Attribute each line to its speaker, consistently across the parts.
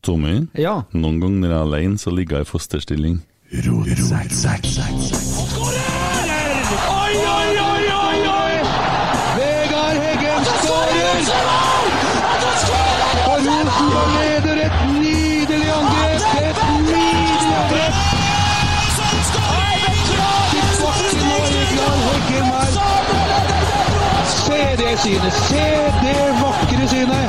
Speaker 1: Tommy,
Speaker 2: Ja.
Speaker 1: noen ganger når jeg er alene, så ligger jeg i fosterstilling.
Speaker 3: Oi, oi, oi, oi, oi! Vegard Heggen skårer! Og Rosenborg leder et nydelig angrep! Et nydelig angrep! Til bakken og Vegard Heggen her. Se det synet! Se det vakre synet!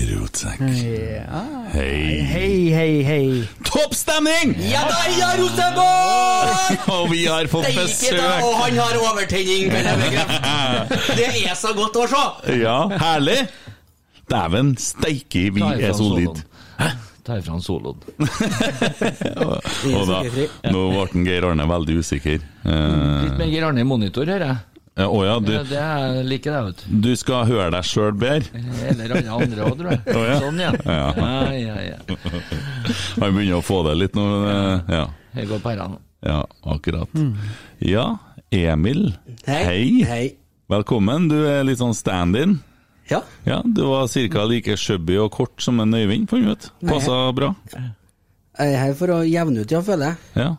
Speaker 1: Rotsekk.
Speaker 2: ja.
Speaker 1: Hei.
Speaker 2: Hei, hei, hei.
Speaker 1: Topp stemning!
Speaker 4: Ja da, ja, Rosenborg!
Speaker 1: Og vi har fått
Speaker 4: Det gikk i dag, og
Speaker 1: besøk.
Speaker 4: han har overtenning, kan jeg bekrefte. Det er så godt å se!
Speaker 1: Ja, herlig! Dæven steike, vi
Speaker 5: Ta ifra
Speaker 1: er solid.
Speaker 5: soloen. Ta ifra han soloen.
Speaker 1: Og da,
Speaker 2: sukkerfri.
Speaker 1: nå ble Geir Arne veldig usikker. Eh,
Speaker 5: Litt mer Geir Arne i monitor, hører jeg.
Speaker 1: ja, Å ja,
Speaker 5: Ja,
Speaker 1: du,
Speaker 5: det er- liker jeg, vet du.
Speaker 1: du skal høre deg sjøl bedre.
Speaker 5: Eller alle andre òg, tror jeg.
Speaker 1: Å, ja.
Speaker 5: Sånn, ja.
Speaker 1: Ja.
Speaker 5: Ja, ja, ja.
Speaker 1: Han begynner å få det litt nå. men, eh, Ja,
Speaker 5: Jeg går på herrene.
Speaker 1: ja akkurat.
Speaker 6: Mm.
Speaker 1: Ja, Emil.
Speaker 4: Hei.
Speaker 1: Velkommen. Du er litt sånn stand-in.
Speaker 4: Ja.
Speaker 1: Ja, du var ca. like chubby og kort som en Øyvind, fant vi ut. Passa bra.
Speaker 6: Jeg er her for å jevne ut, ja, føler jeg.
Speaker 1: Ja.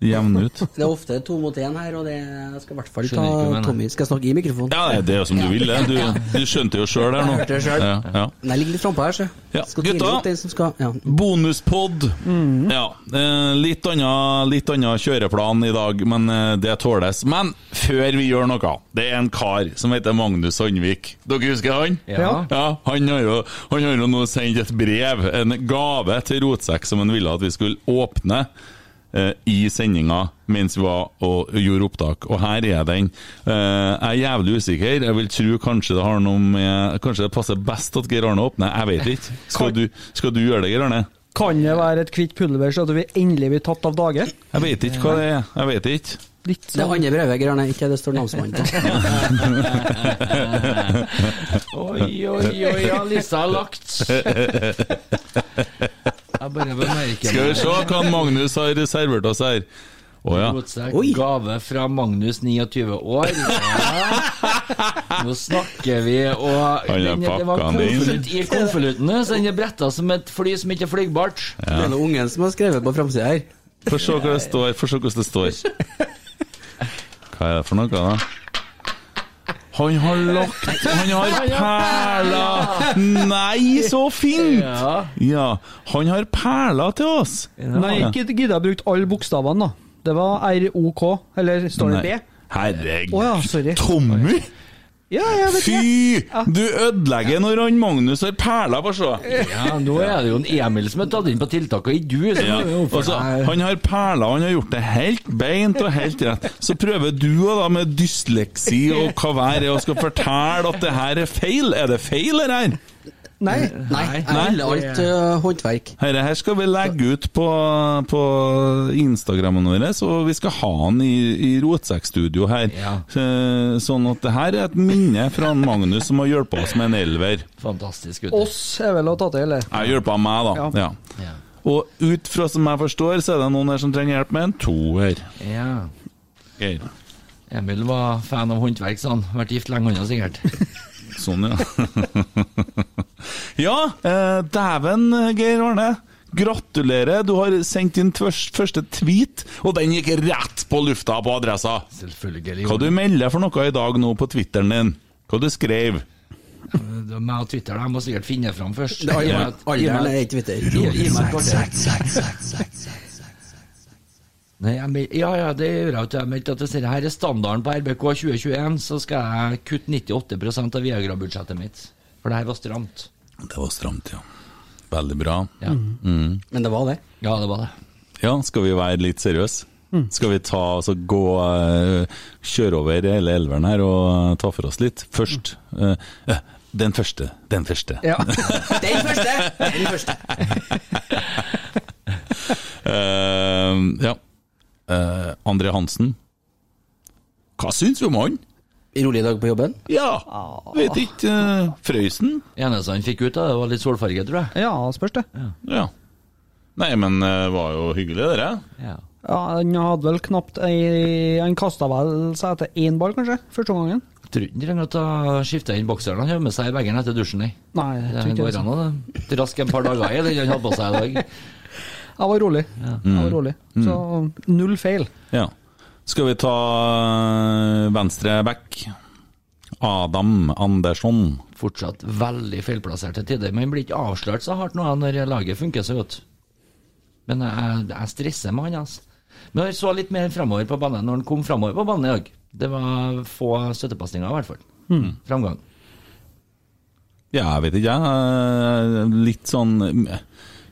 Speaker 1: Jevn ut.
Speaker 6: Det er ofte to mot én her, og det jeg skal i hvert fall ta
Speaker 5: Skjønner ikke hva jeg mener.
Speaker 6: Tommy. Skal jeg snakke i mikrofonen?
Speaker 1: Ja, det er jo som du ville. Du, du skjønte jo sjøl der nå.
Speaker 6: Jeg hørte det selv.
Speaker 1: Ja, ja.
Speaker 6: Men jeg ligger litt frampå her, så.
Speaker 1: Ja,
Speaker 6: Skal
Speaker 1: gutta.
Speaker 6: tidlig opp, den som skal ja.
Speaker 1: Bonuspod.
Speaker 6: Mm.
Speaker 1: Ja, eh, litt annen, litt annen kjøreplan i dag, men eh, det tåles. Men før vi gjør noe, det er en kar som heter Magnus Sandvik. Dere husker han?
Speaker 5: Ja.
Speaker 1: Ja, han har jo, han har jo nå sendt et brev, en gave til Rotsekk, som han ville at vi skulle åpne eh, i sendinga mens vi var og gjorde opptak. Og her er den. Eh, jeg er jævlig usikker. Jeg vil tro kanskje det har noe med Kanskje det passer best at Geir Arne åpner. Jeg vet ikke. Skal du, skal du gjøre det, Geir Arne?
Speaker 2: Kan det være et hvitt pulver, så at vi endelig blir tatt av dage?
Speaker 1: Jeg vet ikke hva det er. Jeg vet ikke.
Speaker 2: Litt
Speaker 6: Det
Speaker 2: sånn.
Speaker 6: er andre brevet, Geir Arne, ikke det står namsmannen på.
Speaker 5: Oi, oi, oi, ja, Lisa har lagt. Jeg bare bemerker
Speaker 1: Skal vi se hva Magnus har reservert oss her. Å ja.
Speaker 5: Godsekk,
Speaker 6: Oi.
Speaker 5: gave fra Magnus, 29 år. Ja. Nå snakker vi, og
Speaker 1: Han har
Speaker 5: den- det var
Speaker 1: pakka den inn.
Speaker 5: konvolutt i konvoluttene, så den er bretta som et fly som ikke er flygbart.
Speaker 6: Det er noen ungen som har skrevet på framsida her.
Speaker 1: Få se hva det står. Få se hvordan det står. Hva er det for noe, da? Han har lagt Han har perler! Nei, så fint!
Speaker 5: Ja.
Speaker 1: Ja, han har perler til oss.
Speaker 2: Nei, ikke gidder jeg brukt alle bokstavene, da. Det var ROK, eller står det B?
Speaker 1: Nei.
Speaker 2: Å ja,
Speaker 1: Herregud.
Speaker 2: sorry.
Speaker 1: Tommy!
Speaker 2: Ja, jeg vet ikke.
Speaker 1: Fy! Du ødelegger når han Magnus har perler, bare se.
Speaker 5: ja, nå er det jo en Emil som er tatt inn på tiltak, og ikke du. Så
Speaker 1: Ja.
Speaker 5: hvorfor-
Speaker 1: Altså, han har perler, han har gjort det helt beint og helt rett. Så prøver du også da med dysleksi og hva vær er, og skal fortelle at det her er feil. Er det feil, det her?
Speaker 2: Nei.
Speaker 6: Nei, jeg
Speaker 1: Nei.
Speaker 6: hyller alt øh, håndverk.
Speaker 1: Dette her skal vi legge ut på, på Instagrammen vår, og vi skal ha han i, i Rotsekkstudio her.
Speaker 5: Ja.
Speaker 1: Eh, Sånn at det her er et minne fra han Magnus som har hjulpet oss med en elver.
Speaker 5: Fantastisk, gutt.
Speaker 2: Oss er vel å ta til, eller?
Speaker 1: Jeg hjulpet meg, da. Ja.
Speaker 2: Ja.
Speaker 5: Ja.
Speaker 1: Og ut fra som jeg forstår, så er det noen her som trenger hjelp med en toer.
Speaker 5: ja.
Speaker 1: Geir.
Speaker 5: Emil var fan av håndverk, sa han. Vært gift lenge, han har sikkert.
Speaker 1: Sånn, ja. ja, eh, dæven, Geir Arne. Gratulerer, du har sendt din tvørs- første tweet, og den gikk rett på lufta på adressa.
Speaker 5: Selvfølgelig.
Speaker 1: Hva du melder for noe i dag nå på Twitteren din? Hva du skrev?
Speaker 5: Det er Meg og Twitter, da. jeg må sikkert finne fram først.
Speaker 6: Det er
Speaker 5: Gi
Speaker 6: alderen-
Speaker 5: meg et- gi meg
Speaker 6: Alderen
Speaker 5: et-
Speaker 6: er ikke Twitter.
Speaker 5: Gi, gi meg et Nei, jeg, mel- ja, ja, det gjør jeg jo ikke. Jeg meldte at jeg sier her er standarden på RBK 2021, så skal jeg kutte 98 av Viagra-budsjettet mitt. For det her var stramt.
Speaker 1: Det var stramt, ja. Veldig bra.
Speaker 5: Ja,
Speaker 6: Men det var det.
Speaker 5: ja det var det.
Speaker 1: Ja, skal vi være litt seriøse? Skal vi ta, altså gå, eh, kjøre over hele elveren her og ta for oss litt? Først. eh, eh, Den første. Den første.
Speaker 2: Ja.
Speaker 6: Den første! Den første.
Speaker 1: Eh, ja. Eh, André Hansen. Hva syns du om han?
Speaker 6: Rolig dag på jobben?
Speaker 1: Ja, vet ikke. eh, Frøysen?
Speaker 5: eneste han fikk ut av det, var litt solfarge, tror jeg.
Speaker 2: Ja, spørs det.
Speaker 1: Ja. Nei, men det var jo hyggelig, dere.
Speaker 5: Ja.
Speaker 2: Ja, Han hadde vel knapt ei Han kasta vel seg etter én ball, kanskje, første gangen.
Speaker 5: Tror ikke han trenger å ta- skifte inn bokseren han har med seg i bagen etter dusjen. nei.
Speaker 2: Nei, jeg
Speaker 5: Det
Speaker 2: tror ikke
Speaker 5: går
Speaker 2: det.
Speaker 5: an å raske en par dager i den han hadde på seg i dag.
Speaker 2: Jeg var rolig. Jeg var rolig. Så null feil.
Speaker 1: Ja. Skal vi ta eh, venstre back? Adam Andersson.
Speaker 5: Fortsatt veldig feilplassert til tider. Men han blir ikke avslørt så hardt nå han, når laget funker så godt. Men jeg, jeg stresser med han, altså. Men jeg så litt mer framover på banen når han kom framover på banen i dag. Det var få støttepasninger, i hvert fall. Framgang.
Speaker 1: Ja, jeg vet ikke, jeg. eh, Litt sånn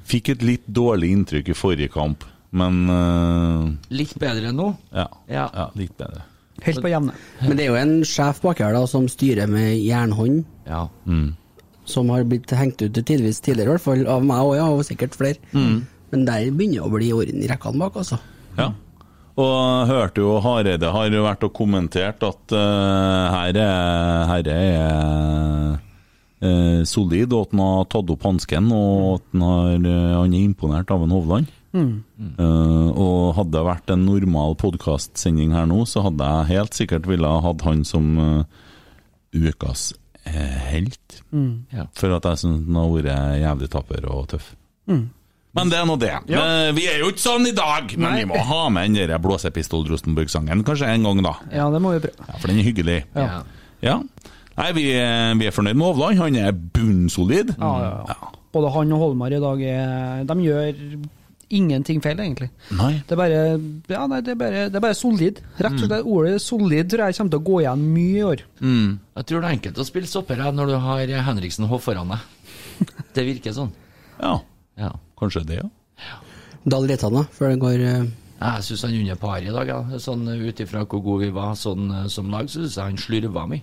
Speaker 1: Fikk et litt dårlig inntrykk i forrige kamp, men eh,
Speaker 5: Litt bedre nå.
Speaker 1: ja, ja.
Speaker 5: Ja.
Speaker 1: Litt bedre.
Speaker 2: Helt på jevne.
Speaker 6: Men det er jo en sjef bak her da som styrer med jernhånd,
Speaker 5: Ja.
Speaker 6: som har blitt hengt ut tidvis tidligere, i hvert fall av meg òg, ja, og sikkert flere. Men der begynner det å bli orden i rekkene bak, altså.
Speaker 1: Ja. Og jeg hørte jo Hareide har jo vært og kommentert at eh, her er, her er eh, solid, og at han har tatt opp hansken, og at han, har, eh, han er imponert av en Hovland. Eh, og hadde det vært en normal podkastsending her nå, så hadde jeg helt sikkert ville ha hatt han som eh, ukas eh, helt.
Speaker 5: Ja.
Speaker 1: For at jeg syns han har vært jævlig tapper og tøff. Men det er nå det. Eh, Vi er jo ikke sånn i dag! Men vi må ha med den der blåsepistol-Rosenborg-sangen kanskje en gang, da.
Speaker 2: Ja, det må vi prøve.
Speaker 1: Ja, for den er hyggelig.
Speaker 5: Ja.
Speaker 1: Ja. Nei, vi er, vi er fornøyd med Hovland. Han er bunnsolid.
Speaker 2: Ja, ja,
Speaker 1: Mm.
Speaker 2: ja. Både han og Holmar i dag er De gjør ingenting feil, egentlig.
Speaker 1: Nei.
Speaker 2: Det er bare Ja, nei, det er bare, det er bare solid. Rett og
Speaker 1: Mm.
Speaker 2: slett. Ordet solid tror jeg kommer til å gå igjen mye i år.
Speaker 5: Jeg tror det er enkelt å spille stopper her når du har Henriksen Hoff foran deg. Det virker sånn.
Speaker 1: Ja,
Speaker 5: Ja.
Speaker 1: kanskje det, ja.
Speaker 6: Dahl Reitan, da, før det går eh,
Speaker 5: Jeg syns han er under par i dag, ja. sånn ut ifra hvor gode vi var sånn eh, som lag, så syns jeg han slurva mye.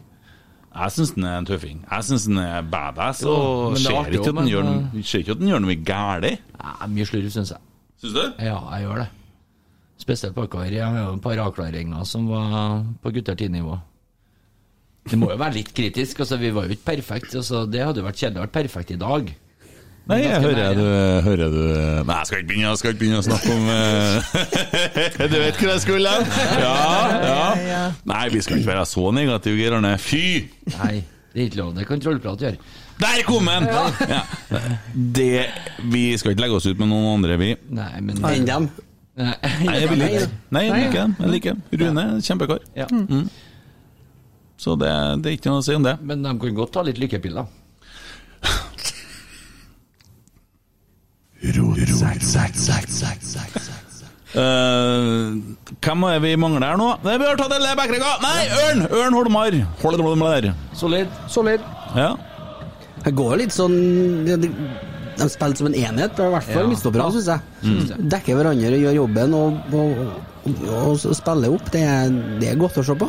Speaker 1: Jeg syns den er en tøffing. Jeg syns den er badass, og
Speaker 5: men det er
Speaker 1: ser ikke,
Speaker 5: artig
Speaker 1: at
Speaker 5: også,
Speaker 1: den
Speaker 5: men, eh,
Speaker 1: gjør, noe- ser ikke at den gjør noe galt.
Speaker 5: Ja, mye slurv, syns jeg.
Speaker 1: Syns du?
Speaker 5: Ja, jeg gjør det. Spesielt bakover. Jeg har jo et par avklaringer som var på gutter 10-nivå. Det må jo være litt kritisk. altså Vi var jo ikke perfekte. Altså, det hadde jo vært kjedelig å være perfekt i dag.
Speaker 1: Nei, jeg
Speaker 5: Ganske
Speaker 1: hører
Speaker 5: nær,
Speaker 1: du, hører du Nei, jeg skal ikke begynne, jeg skal ikke begynne å snakke om eh, Du vet hvor jeg skulle hen? Ja, ja. Nei, vi skal ikke være så negative, Geir Arne. Fy!
Speaker 5: Nei, det er ikke lov. Det kan trollprat gjøre.
Speaker 1: Der kom den! Ja. Det, vi skal ikke legge oss ut med noen andre, vi.
Speaker 5: Nei, men
Speaker 6: enn dem.
Speaker 1: Nei, jeg vil ikke. Nei, jeg liker dem. Jeg liker dem. Rune, kjempekar.
Speaker 5: Ja.
Speaker 1: Mm. Så det, det er ikke noe å si om det.
Speaker 5: Men de kan godt ta litt lykkepiller.
Speaker 1: Eh, hvem er vi mangler her nå? Nei, vi har tatt alle Bekkerøyga! Nei, Ørn! Ørn Holmar. Holmar.
Speaker 5: Solid.
Speaker 2: Solid.
Speaker 1: Ja.
Speaker 6: Det går litt sånn De, de spiller som en enhet, i hvert fall
Speaker 5: Ja.
Speaker 6: midtstopperne, syns Mm. jeg. Dekker hverandre og gjør jobben og, og, og, og spiller opp. Det er, det er godt å se på.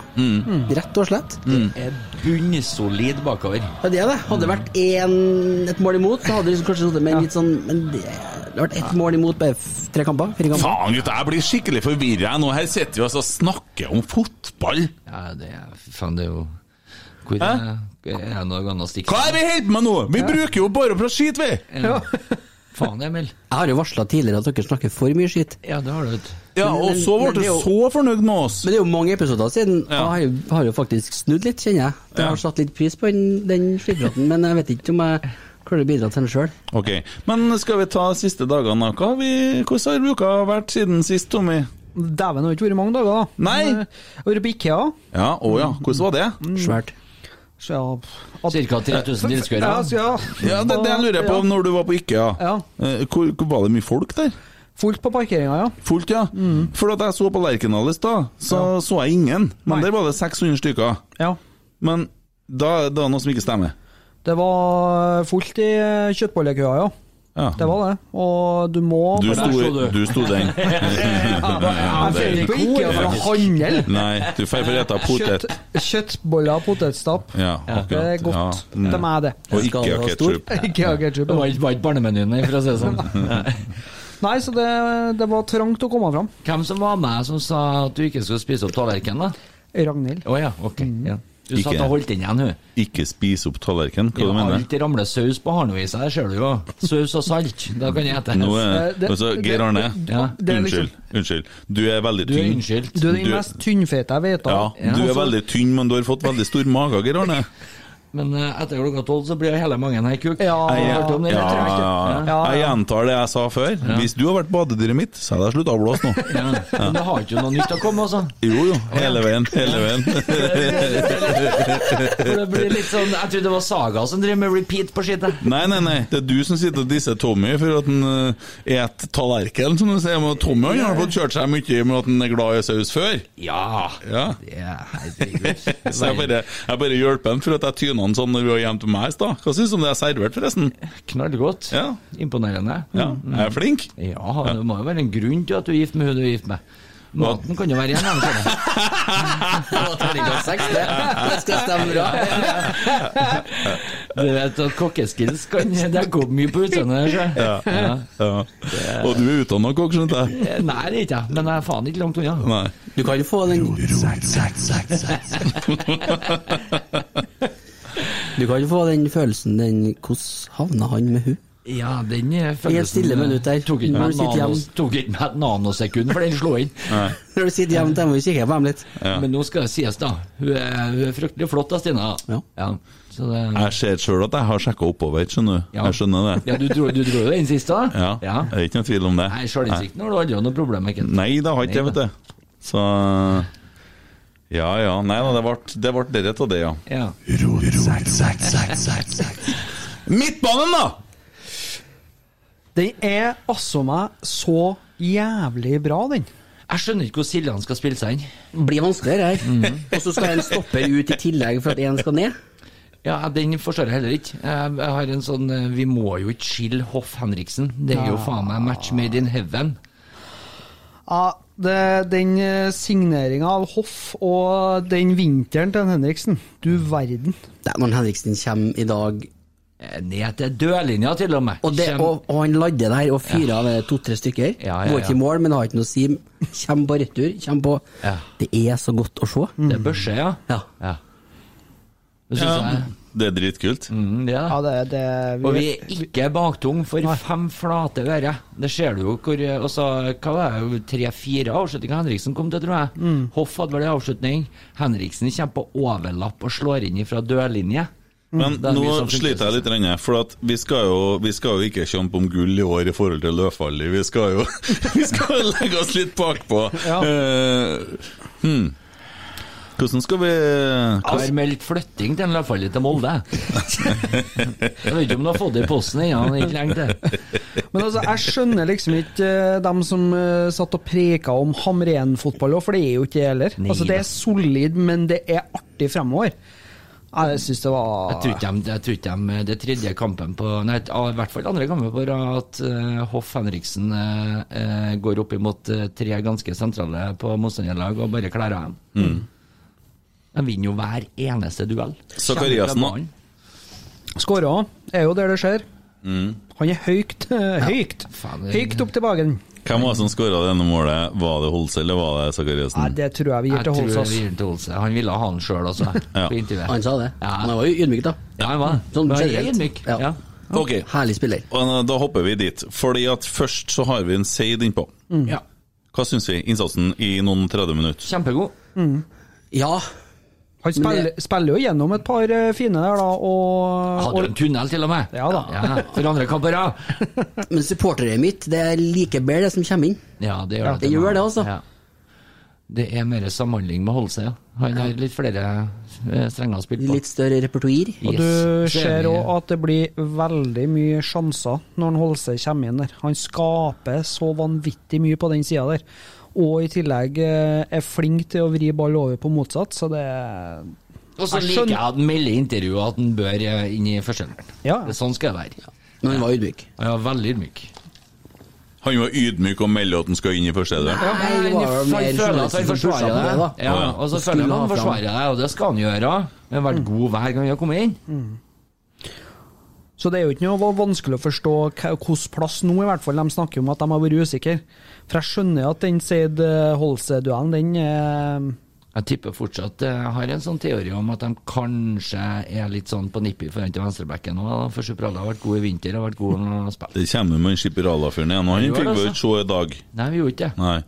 Speaker 6: Rett og slett.
Speaker 5: Er bunnsolid bakover.
Speaker 6: Ja, det er det. Hadde det vært en, et mål imot, så hadde det liksom kanskje sittet med en litt sånn Men det, det har vært ett mål imot bare f- tre kamper? Fire kamper?
Speaker 1: Faen, gutta, jeg blir skikkelig forvirra nå. Her sitter vi altså og snakker om fotball.
Speaker 5: Ja, det er fy Faen, det er jo Hvor
Speaker 1: Hæ?
Speaker 5: er, er det noe annet å stikke
Speaker 1: Hva er det vi holder på med nå?! Vi bruker jo bare på å skite, vi!
Speaker 5: Ja. Faen, Emil.
Speaker 6: Jeg har jo varsla tidligere at dere snakker for mye skitt.
Speaker 5: Ja, det har du. vet du.
Speaker 1: Ja,
Speaker 6: Men-
Speaker 1: og
Speaker 6: men-
Speaker 1: så
Speaker 6: men
Speaker 1: ble
Speaker 6: det er
Speaker 1: du
Speaker 6: jo-
Speaker 1: så fornøyd med oss.
Speaker 6: Men det er jo mange episoder siden, og jeg har jo, har jo faktisk snudd litt, kjenner jeg. Jeg
Speaker 1: Ja.
Speaker 6: har satt litt pris på den, den skittpraten, men jeg vet ikke om jeg klarer å bidra til den sjøl.
Speaker 1: Ok, Men skal vi ta siste dagene, da? Hva har vi- Hvordan har uka vært siden sist, Tommy?
Speaker 2: Dæven, det har ikke vært mange dager, da.
Speaker 1: Nei.
Speaker 2: Men, eh, Jeg har vært på Ikea.
Speaker 1: Ja, å ja. Hvordan var det?
Speaker 6: Svært.
Speaker 2: Så ja, pff, at-
Speaker 5: Cirka 3000 tilskuere.
Speaker 2: Ja, så ja.
Speaker 1: Ja, Det, det lurer jeg på når du var på IKEA.
Speaker 2: Ja.
Speaker 1: Eh, Hvor, hvor var det mye folk der?
Speaker 2: Fullt på parkeringa, ja.
Speaker 1: Fullt, ja. For at jeg så på Lerkendal i stad, så så jeg ingen. Men
Speaker 2: Nei.
Speaker 1: der var det 600 stykker.
Speaker 2: ja.
Speaker 1: Men da, da er det noe som ikke stemmer.
Speaker 2: Det var fullt i eh, kjøttbollekøa, ja.
Speaker 1: Ja.
Speaker 2: Det var det. Og du må
Speaker 1: Du
Speaker 5: der sto
Speaker 1: sto,
Speaker 5: du.
Speaker 1: du sto den.
Speaker 2: Jeg drar ikke på IKEA for å handle.
Speaker 1: Nei, du får forretta potet.
Speaker 2: Kjøtt, kjøttboller og potetstapp.
Speaker 1: Ja,
Speaker 2: Det
Speaker 1: akkurat.
Speaker 2: er godt.
Speaker 1: Ja. Mm.
Speaker 2: De er det.
Speaker 1: Og
Speaker 6: Skal
Speaker 1: ikke
Speaker 6: det være stor?
Speaker 1: ketsjup.
Speaker 2: IKEA ketchup.
Speaker 5: Det var ikke, var ikke barnemenyen, nei, for å si det sånn.
Speaker 2: Nei, så det, det var trangt å komme fram.
Speaker 5: Hvem som var med som sa at du ikke skulle spise opp tallerkenen, da?
Speaker 2: Ragnhild.
Speaker 5: Å ja, ok. Ja. Du
Speaker 1: Mhm. Ikke-
Speaker 5: satt og holdt den igjen, hun.
Speaker 1: Ikke spise opp tallerken, hva
Speaker 5: Ja,
Speaker 1: du mener du?
Speaker 5: alt ramler saus på harnevisa, det ser du jo. Saus og salt, da kan jeg ete.
Speaker 1: Nå er,
Speaker 2: Eh, det-
Speaker 1: altså, Geir
Speaker 2: det-
Speaker 1: Arne,
Speaker 5: Ja.
Speaker 2: det er liksom-
Speaker 1: unnskyld, unnskyld. Du er veldig
Speaker 5: Du er
Speaker 1: tynn.
Speaker 5: unnskyldt.
Speaker 2: Du er den
Speaker 1: Du-
Speaker 2: mest tynnfete jeg vet
Speaker 1: Ja,
Speaker 2: av.
Speaker 1: du er
Speaker 2: Altså,
Speaker 1: veldig tynn, men du har fått veldig stor mage, Geir Arne.
Speaker 5: Men eh, etter klokka tolv så blir hele mangen her kuk.
Speaker 2: Ja.
Speaker 5: Har du hørt om det?
Speaker 1: Ja,
Speaker 5: Jeg
Speaker 1: ja,
Speaker 5: tror ikke.
Speaker 1: ja.
Speaker 2: Ja, ja.
Speaker 1: Jeg gjentar det jeg sa før. Hvis du har vært badedyret mitt, så hadde jeg slutta å blåse nå.
Speaker 5: Ja. Men det har ikke noe nytt å komme, altså.
Speaker 1: Jo jo, hele veien. Hele veien.
Speaker 5: For det blir litt sånn, Jeg trodde det var Saga som driver med repeat på skittet.
Speaker 1: Nei, nei, nei. Det er du som sitter og disser Tommy for at han uh, et tallerken, som du sier. Men Tommy han har fått kjørt seg mye med at han er glad i saus før.
Speaker 5: Ja.
Speaker 1: Ja.
Speaker 5: Det er herregud.
Speaker 1: Så jeg bare, jeg bare hjelper han for at jeg tyna han sånn når vi var hjemme til meg i stad. Hva syns du om det jeg serverte, forresten?
Speaker 5: Knallgodt.
Speaker 1: Ja.
Speaker 5: Imponerende.
Speaker 1: Ja, jeg er flink.
Speaker 5: Ja, det må jo være en grunn til at du er gift med hun du er gift med. Maten kan jo være igjen.
Speaker 6: Terningkast seks, det. Det skal stemme bra.
Speaker 5: Du vet at kokkeskills kan Det går mye på utseendet. der, så. Ja.
Speaker 1: Ja. Og du er utdanna kokk, skjønner jeg.
Speaker 5: Eh, Nei, det er ikke jeg, men jeg er faen ikke langt unna.
Speaker 1: Nei.
Speaker 6: Du kan jo få den Du kan jo få den følelsen den Hvordan havna han med hun?
Speaker 5: Ja, den eh, følelsen
Speaker 6: Helt stille minutt der.
Speaker 5: Tok ikke
Speaker 6: Når
Speaker 5: meg
Speaker 6: du
Speaker 5: et
Speaker 6: sitter
Speaker 5: nanos,
Speaker 6: hjemme.
Speaker 5: tok ikke meg et nanosekund, for den slo inn.
Speaker 6: Når du sitter hjemme til dem og kikker på dem litt.
Speaker 5: Men nå skal det sies, da. Hun er, hun er fryktelig flott, da, Stina.
Speaker 6: Ja.
Speaker 5: Så det,
Speaker 1: Jeg ser sjøl at jeg har sjekka oppover, skjønner du. Jeg skjønner det.
Speaker 5: ja, du dro, du dro jo den siste, da?
Speaker 1: Ja, det
Speaker 5: ja.
Speaker 1: er ikke noe tvil om det.
Speaker 5: Nei, sjølinnsikten har du aldri hatt noe problem med. Kent.
Speaker 1: Nei, det har ikke jeg,
Speaker 5: Nei,
Speaker 1: vet du. Så Ja ja. Nei da, det ble- det ble det av det, ja.
Speaker 5: Ja.
Speaker 1: Midtbanen, da!
Speaker 2: Den er altså meg så jævlig bra, den.
Speaker 5: Jeg skjønner ikke hvor Siljan skal spille seg inn.
Speaker 6: Blir vanskeligere her. Og så skal en stoppe ut i tillegg for at én skal ned.
Speaker 5: Ja, Den forstår jeg heller ikke. Jeg jeg har en sånn eh, Vi må jo ikke skille Hoff Henriksen. Det er jo faen meg match made in heaven.
Speaker 2: Ja, det, den signeringa av Hoff og den vinteren til Henriksen, du verden.
Speaker 6: Det er når Henriksen kommer i dag,
Speaker 5: Eh, Ned til dørlinja, til og med.
Speaker 6: og, det,
Speaker 5: Kjem-
Speaker 6: og, og han lader der og fyrer av to-tre stykker.
Speaker 5: Ja, ja,
Speaker 6: Går ikke
Speaker 5: ja.
Speaker 6: i mål, men har ikke noe å si. Kommer på retur. Kommer på
Speaker 5: Ja.
Speaker 6: Det er så godt å se.
Speaker 5: Det er børse, ja.
Speaker 6: Ja.
Speaker 5: ja. Det syns jeg.
Speaker 1: Det er dritkult.
Speaker 5: Mm, det er
Speaker 2: Ja,
Speaker 5: det.
Speaker 2: det, det
Speaker 5: Og vi er ikke baktung for fem flate øre. Det ser du jo hvor eh, altså, Hva var det, tre-fire avslutninger Henriksen kom til, tror jeg.
Speaker 6: Mm.
Speaker 5: Hoff hadde vel en avslutning. Henriksen kommer på overlapp og slår inn fra dørlinje.
Speaker 1: Men
Speaker 5: Mm, det er
Speaker 1: nå
Speaker 5: mye som funker,
Speaker 1: sliter jeg
Speaker 5: synes
Speaker 1: litt, grann, for at vi, skal jo, vi skal jo ikke kjempe om gull i år i forhold til Løfaldli. Vi skal jo vi skal jo legge oss litt bakpå.
Speaker 2: Ja.
Speaker 1: Eh, hmm. Hvordan skal vi
Speaker 5: Jeg
Speaker 1: Altså-
Speaker 5: har meldt flytting til Løfaldli til Molde. Jeg vet ikke om du har fått det i posten ennå, men det er ikke lenge til.
Speaker 2: Men altså, jeg skjønner liksom ikke eh, dem som eh, satt og preka om Hamren-fotball òg, for det er jo ikke det heller.
Speaker 5: Nei
Speaker 2: Altså, det
Speaker 5: da.
Speaker 2: er solid, men det er artig fremover. Jeg syns det var
Speaker 5: Jeg tror ikke de, jeg tror ikke de det er tredje kampen på Nei, ja, i hvert fall andre kampen på rad at eh, Hoff Henriksen eh, eh, går opp imot eh, tre ganske sentrale på motstanderlag og bare klærer av dem.
Speaker 1: Mm.
Speaker 5: De vinner jo hver eneste duell.
Speaker 1: Zakariassen, da?
Speaker 2: Skåra er jo der det skjer. Han er høyt. eh, Høyt
Speaker 5: faen, det- Mm.
Speaker 2: Høyt opp til bagen.
Speaker 1: Hvem var det som skåra det ene målet? Var det Holse eller var det
Speaker 2: Nei,
Speaker 1: Sakariassen?
Speaker 2: det tror jeg vi
Speaker 5: Jeg
Speaker 2: gir til
Speaker 5: tror
Speaker 2: Holsås.
Speaker 5: vi gir den til Holse. Han ville ha han sjøl også,
Speaker 1: Ja.
Speaker 5: på intervjuet.
Speaker 6: Han sa det.
Speaker 5: Ja.
Speaker 6: Men han var jo ydmyk, da.
Speaker 5: Ja, han var det.
Speaker 6: Sånn
Speaker 5: Men han er
Speaker 6: generelt.
Speaker 5: ydmyk.
Speaker 6: Ja.
Speaker 5: Ja.
Speaker 1: Ok,
Speaker 6: Herlig spiller.
Speaker 1: og eh, da hopper vi dit. Fordi at først så har vi en seid innpå.
Speaker 6: Mm.
Speaker 5: Ja.
Speaker 1: Hva syns vi? Innsatsen i noen 30 minutter.
Speaker 5: Kjempegod.
Speaker 6: Ja.
Speaker 2: Han spiller, spiller jo gjennom et par eh, fine der, da, og,
Speaker 5: Hadde jo en
Speaker 2: og
Speaker 5: tunnel, til og med.
Speaker 2: Ja da.
Speaker 5: for andre kamper, ja.
Speaker 6: Men supporteret mitt, det er like bedre det som kommer inn.
Speaker 5: Ja, det gjør
Speaker 6: Ja, det
Speaker 5: til
Speaker 6: gjør
Speaker 5: meg.
Speaker 6: det, altså.
Speaker 5: Ja. Det er mer samhandling med Holse, ja. Han har litt flere eh, strenger å spille på.
Speaker 6: Litt større repertoar.
Speaker 5: Yes.
Speaker 2: du
Speaker 5: Så er
Speaker 2: ser
Speaker 5: vi-
Speaker 2: òg at det blir veldig mye sjanser når han Holse kommer inn der. Han skaper så vanvittig mye på den sida der, og i tillegg eh, er flink til å vri ball over på motsatt, så det
Speaker 5: Og så
Speaker 2: Jeg
Speaker 5: liker jeg
Speaker 2: skjønner-
Speaker 5: at han melder i intervjuet at han bør eh, inn i førsteelveren.
Speaker 2: Ja.
Speaker 5: Det er Sånn skal det være.
Speaker 6: Men han var ydmyk.
Speaker 5: Han er veldig ydmyk.
Speaker 1: Han var ydmyk og meldte at han skal inn i første del.
Speaker 5: Ja,
Speaker 6: det var jo mer
Speaker 5: han føler at
Speaker 6: journalisten
Speaker 5: han
Speaker 6: som pusha
Speaker 5: forsvarer
Speaker 6: på det,
Speaker 5: deg.
Speaker 6: da.
Speaker 5: Ja,
Speaker 1: Ja, ja.
Speaker 5: og så
Speaker 6: Og
Speaker 5: føler
Speaker 6: skulle
Speaker 5: han
Speaker 6: ha
Speaker 5: han
Speaker 6: fram. Mm.
Speaker 5: forsvarer deg, og det skal han gjøre. Han har vært god hver gang han har kommet inn.
Speaker 2: Så det er jo ikke noe vanskelig å forstå hvilken plass nå, i hvert fall. De snakker om at de har vært usikre. For jeg skjønner at den Seid eh, Holse-duellen, den eh,
Speaker 5: Jeg tipper fortsatt Jeg har en sånn teori om at de kanskje er litt sånn på nippet foran til venstrebekken nå. da, For Supralla har vært god i vinter og vært god når han har spilt.
Speaker 1: Det kommer med Skipperala-fyren igjen, og han
Speaker 5: gjør
Speaker 1: fikk vi
Speaker 5: det,
Speaker 1: jo
Speaker 5: altså.
Speaker 1: ikke se i dag.
Speaker 5: Nei, vi gjorde ikke det.
Speaker 1: Nei.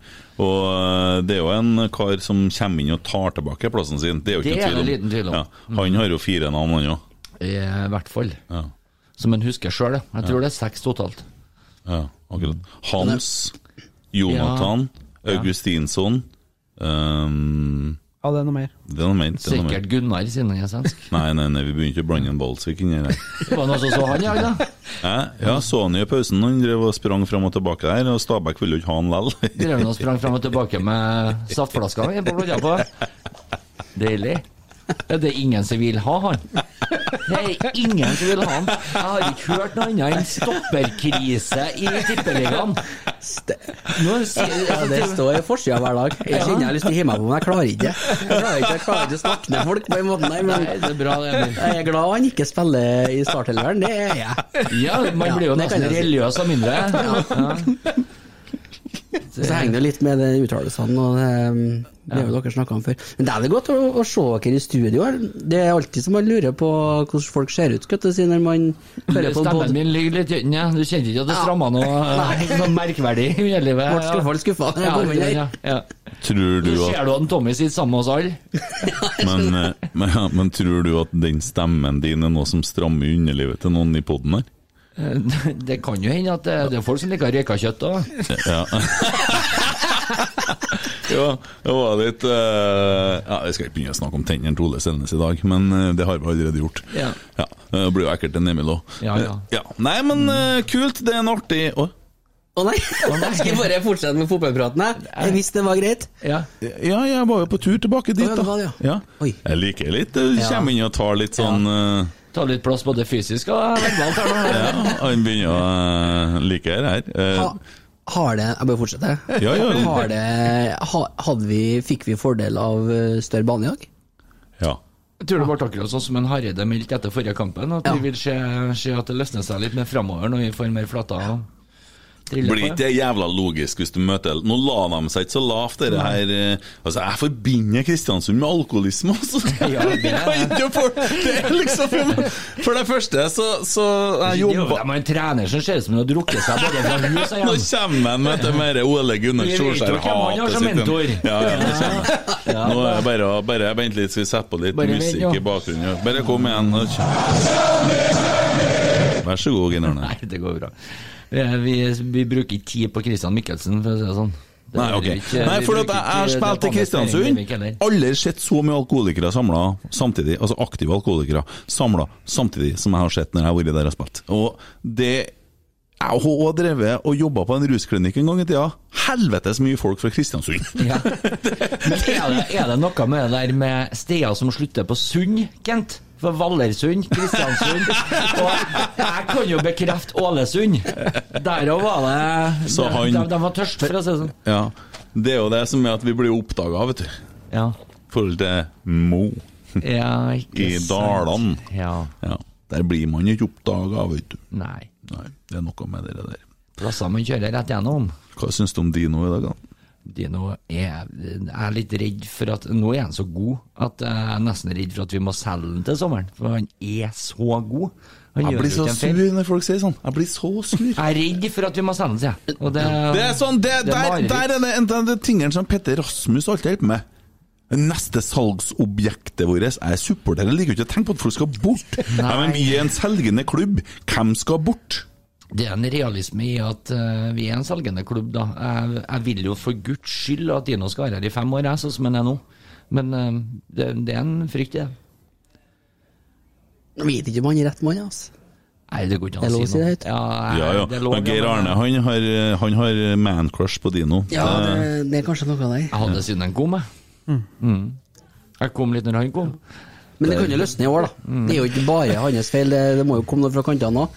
Speaker 1: Og øh, det er jo en kar som kommer inn og tar tilbake plassen sin. Det er jo ikke noe tvil
Speaker 5: Det er
Speaker 1: om.
Speaker 5: det liten tvil om.
Speaker 1: Ja. Han har jo fire navn, han òg.
Speaker 5: I hvert fall.
Speaker 1: Ja.
Speaker 5: Som en husker sjøl, jeg tror det er seks totalt.
Speaker 1: Ja, akkurat. Hans, Jonathan, Augustinsson øhm,
Speaker 2: Ja, det er noe mer.
Speaker 1: Det er noe mer. Det er noe mer.
Speaker 5: Sikkert Gunnar, siden han er svensk.
Speaker 1: Nei, nei, nei, vi begynner ikke å blande en Balsvik inn i det.
Speaker 5: Det var noen som så han i dag, da.
Speaker 1: Ja, så han jo i pausen, han drev og sprang fram og tilbake der, og Stabæk ville jo ikke ha han lell.
Speaker 5: Drev han og sprang fram og tilbake med saftflaska han, på blodja på. Deilig. Ja, Det er ingen som vil ha han. Det er ingen som vil ha han. Jeg har ikke hørt noe annet enn stopperkrise i tippeligaen. Nå sier
Speaker 6: Ja, det står i forsida hver dag. Altså, Jeg kjenner jeg har lyst til å hive meg på, men jeg klarer ikke. Jeg klarer ikke, jeg klarer ikke å snakke ned folk på den måten der, men
Speaker 5: Nei, det er bra, det, Emil.
Speaker 6: jeg er glad han ikke spiller i startelveren, det er jeg.
Speaker 5: Ja, man blir jo
Speaker 6: det kan
Speaker 5: nesten
Speaker 6: jeg si.
Speaker 5: religiøs av mindre. Ja.
Speaker 6: Og Så henger det litt med den uttalelsen, og det, det har jo dere snakka om før. Men det er vel godt å, å se dere i studio. Det er alltid som man lurer på hvordan folk ser ut, skal jeg til å si, når man hører på en
Speaker 5: Stemmen
Speaker 6: podkast.
Speaker 5: min ligger litt tynn, ja. Du kjente ikke at det stramma noe, eh, noe merkverdig i underlivet?
Speaker 6: Ble skuffa, ble skuffa når jeg kom inn her.
Speaker 5: Ja, ja.
Speaker 1: Tror du
Speaker 5: Nå
Speaker 1: at
Speaker 5: ser du at Tommy sitter sammen med oss alle.
Speaker 1: Men, eh, men, ja, men tror du at den stemmen din er noe som strammer underlivet til noen i poden her?
Speaker 5: Eh, Det kan jo hende at det, det er folk som liker rekakjøtt òg.
Speaker 1: Ja. ja, det var litt eh, Ja, Jeg skal ikke begynne å snakke om tennene til Ole Selnes i dag, men eh, det har vi allerede gjort.
Speaker 5: Ja.
Speaker 1: Det blir jo ekkelt en Emil òg.
Speaker 5: Ja, ja.
Speaker 1: Nei, men eh, kult. Det er en artig Å,
Speaker 6: Å nei, jeg skal bare fortsette med fotballpraten, jeg. Jeg visste det var greit.
Speaker 5: Ja.
Speaker 1: Ja, jeg var jo på tur tilbake dit,
Speaker 6: Å, ja,
Speaker 1: da.
Speaker 6: det var det,
Speaker 1: ja.
Speaker 6: ja. Oi.
Speaker 1: Jeg liker litt Du kommer inn og tar litt sånn eh,
Speaker 5: Ta litt plass både fysisk og verbalt her nå.
Speaker 1: Ja, han begynner å eh, like det her. Eh,
Speaker 6: Ha, har det Jeg bør fortsette.
Speaker 1: Ja, ja.
Speaker 6: Har det, ha, hadde vi, fikk vi fordel av eh, større bane i dag?
Speaker 1: ja.
Speaker 5: Jeg tror det var akkurat sånn som en Hareide meldte etter forrige kampen, at vi
Speaker 6: Ja.
Speaker 5: vil se, se at det løsner seg litt mer framover når vi får mer flata. og driller
Speaker 1: Blir ikke
Speaker 5: på.
Speaker 1: det jævla logisk hvis du møter Nå la de seg ikke så lavt, dere her eh, Altså, jeg forbinder Kristiansund med alkoholisme, altså!
Speaker 5: Ja, det er det.
Speaker 1: Ikke for, det er liksom For det første, så, så jeg
Speaker 5: Det er jo
Speaker 1: jobba
Speaker 5: de har en trener som ser ut som han har drukket seg både fra hus og
Speaker 1: Nå
Speaker 5: hjem.
Speaker 1: kommer han med det mer Ole Gunnar
Speaker 5: Vi vet jo hvem han har
Speaker 1: Solskjær-hatet
Speaker 5: som mentor.
Speaker 1: Ja, ja, nå kommer han. Nå er det bare å bare vent litt, så vi setter på litt
Speaker 5: Bare vent,
Speaker 1: musikk
Speaker 5: ja.
Speaker 1: i bakgrunnen. ja. Bare kom igjen. nå kjø- Vær så god, generalene.
Speaker 5: Nei, det går bra. Eh, Vi, vi bruker ikke tid på Christian Mikkelsen, for å si det sånn. Det
Speaker 1: Nei,
Speaker 5: gjør
Speaker 1: ok.
Speaker 5: vi ikke.
Speaker 1: Nei,
Speaker 5: Vi
Speaker 1: for at
Speaker 5: bruker
Speaker 1: jeg
Speaker 5: ikke
Speaker 1: har
Speaker 5: det
Speaker 1: spilt til
Speaker 5: Thomas
Speaker 1: Kristiansund.
Speaker 5: Bergvik heller.
Speaker 1: Aldri sett så mye alkoholikere samla samtidig, altså aktive alkoholikere samla samtidig som jeg har sett når jeg har vært der og spilt. Og det Jeg har også drevet og jobba på en rusklinikk en gang i tida. Helvetes mye folk fra Kristiansund!
Speaker 5: Ja. Men er det, er det noe med det der med steder som slutter på Sund, Kent? For Vallersund, Kristiansund Og jeg kan jo bekrefte Ålesund. Der òg var det
Speaker 1: Så han-
Speaker 5: de, de var tørst, for å si det sånn.
Speaker 1: Ja. Det er jo det som er at vi blir oppdaga, vet du.
Speaker 5: Ja,
Speaker 1: I forhold til Mo
Speaker 5: ja ikke
Speaker 1: i
Speaker 5: sant.
Speaker 1: Dalane.
Speaker 5: Ja.
Speaker 1: Ja. Der blir man jo ikke oppdaga, vet du.
Speaker 5: Nei.
Speaker 1: Nei, det er noe med det der.
Speaker 5: Plasser man kjører rett gjennom.
Speaker 1: Hva syns du om Dino i dag, da?
Speaker 5: Dino er, jeg er litt redd for at Nå er han så god at jeg er nesten redd for at vi må selge han til sommeren. For han er så god. Han
Speaker 1: Jeg
Speaker 5: gjør
Speaker 1: blir
Speaker 5: jo
Speaker 1: så
Speaker 5: ikke en
Speaker 1: sur
Speaker 5: feil.
Speaker 1: når folk sier sånn. Jeg blir så sur.
Speaker 5: Jeg er redd for at vi må selge han, sier jeg. Og det,
Speaker 1: Det er sånn, det,
Speaker 5: Det er
Speaker 1: der,
Speaker 5: mareritt.
Speaker 1: der er det en av de tingene som Petter Rasmus alltid hjelper med. Neste salgsobjektet vårt er supportere. Jeg liker jo ikke å tenke på at folk skal bort. Ja, men vi er en selgende klubb. Hvem skal bort?
Speaker 5: det er en realisme i at eh, vi er en selgende klubb, da. Jeg, jeg vil jo for guds skyld at Dino skal være her i fem år, jeg, sånn som han er nå. Men eh, det, det er en frykt, det.
Speaker 6: Jeg vet ikke om han er rett mann, altså.
Speaker 5: Nei, det går ikke
Speaker 6: Er
Speaker 5: an
Speaker 6: lov
Speaker 5: å
Speaker 6: å si
Speaker 5: si noe.
Speaker 6: det høyt?
Speaker 5: Ja,
Speaker 1: Ja, ja.
Speaker 5: det er lov,
Speaker 1: Men Geir
Speaker 5: ja, men
Speaker 1: Arne han har, eh, han har man-crush på Dino.
Speaker 6: Ja, det,
Speaker 1: Det-
Speaker 6: det er kanskje noe av det.
Speaker 5: eh, Jeg hadde siden han kom, jeg. Mm. Jeg kom litt når han kom.
Speaker 6: Men det kan jo løsne i år, da. Det er jo ikke bare hans feil, det, det må jo komme noe fra kantene òg.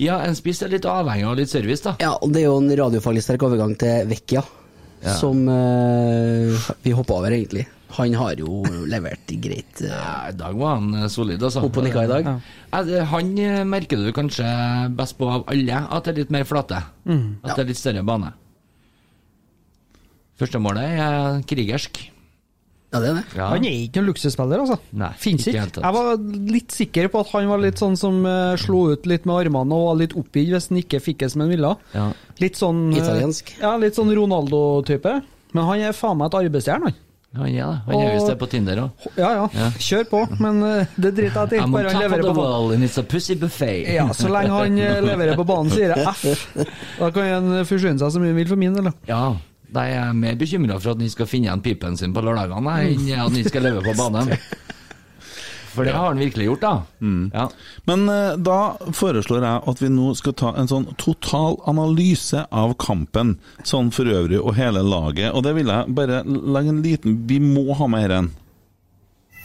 Speaker 5: Ja, en spiss er litt avhengig av litt service, da.
Speaker 6: Ja, og det er jo en radiofaglig sterk overgang til Vecchia, som eh, vi hoppa over, egentlig. Han har jo levert greit. eh,
Speaker 5: Ja, I dag var han eh, solid, altså.
Speaker 6: Opp og nikka i dag.
Speaker 5: Ja. Ja, det- Han eh, merker du kanskje best på av alle, at det er litt mer flate.
Speaker 6: Mm.
Speaker 5: At det er litt større bane. Første målet er eh, krigersk.
Speaker 6: Ja, det er det.
Speaker 5: Ja.
Speaker 2: Han er ikke noen luksusspiller, altså.
Speaker 5: Nei,
Speaker 2: Fins
Speaker 5: ikke i
Speaker 2: ikke.
Speaker 5: hele tatt.
Speaker 2: Jeg var litt sikker på at han var litt sånn som eh, slo ut litt med armene og var litt oppgitt hvis han ikke fikk det som han ville.
Speaker 5: Ja.
Speaker 2: Litt sånn eh,
Speaker 6: Italiensk.
Speaker 2: Ja, litt sånn Ronaldo-type. Men han er faen meg et arbeidsstjerne, han.
Speaker 5: Han er det. Han er
Speaker 2: Og-
Speaker 5: visst det på Tinder òg.
Speaker 2: Ja, ja, kjør på, men eh, det driter jeg til.
Speaker 5: I'm on
Speaker 2: Bare han
Speaker 5: top of
Speaker 2: leverer
Speaker 5: the
Speaker 2: på banen.
Speaker 5: wall and it's a pussy buffet.
Speaker 2: Ja, så lenge han eh, leverer på banen, sier jeg F. Da kan han forsyne seg så mye han vil for min del. da.
Speaker 5: Ja, da er jeg mer bekymra for at han skal finne igjen pipen sin på lørdagene jeg, enn at han skal leve på banen. For det har han virkelig gjort, da.
Speaker 6: Mm.
Speaker 5: Ja.
Speaker 1: Men eh, da foreslår jeg at vi nå skal ta en sånn total analyse av kampen, sånn for øvrig, og hele laget. Og det vil jeg bare legge en liten Vi må ha med dette.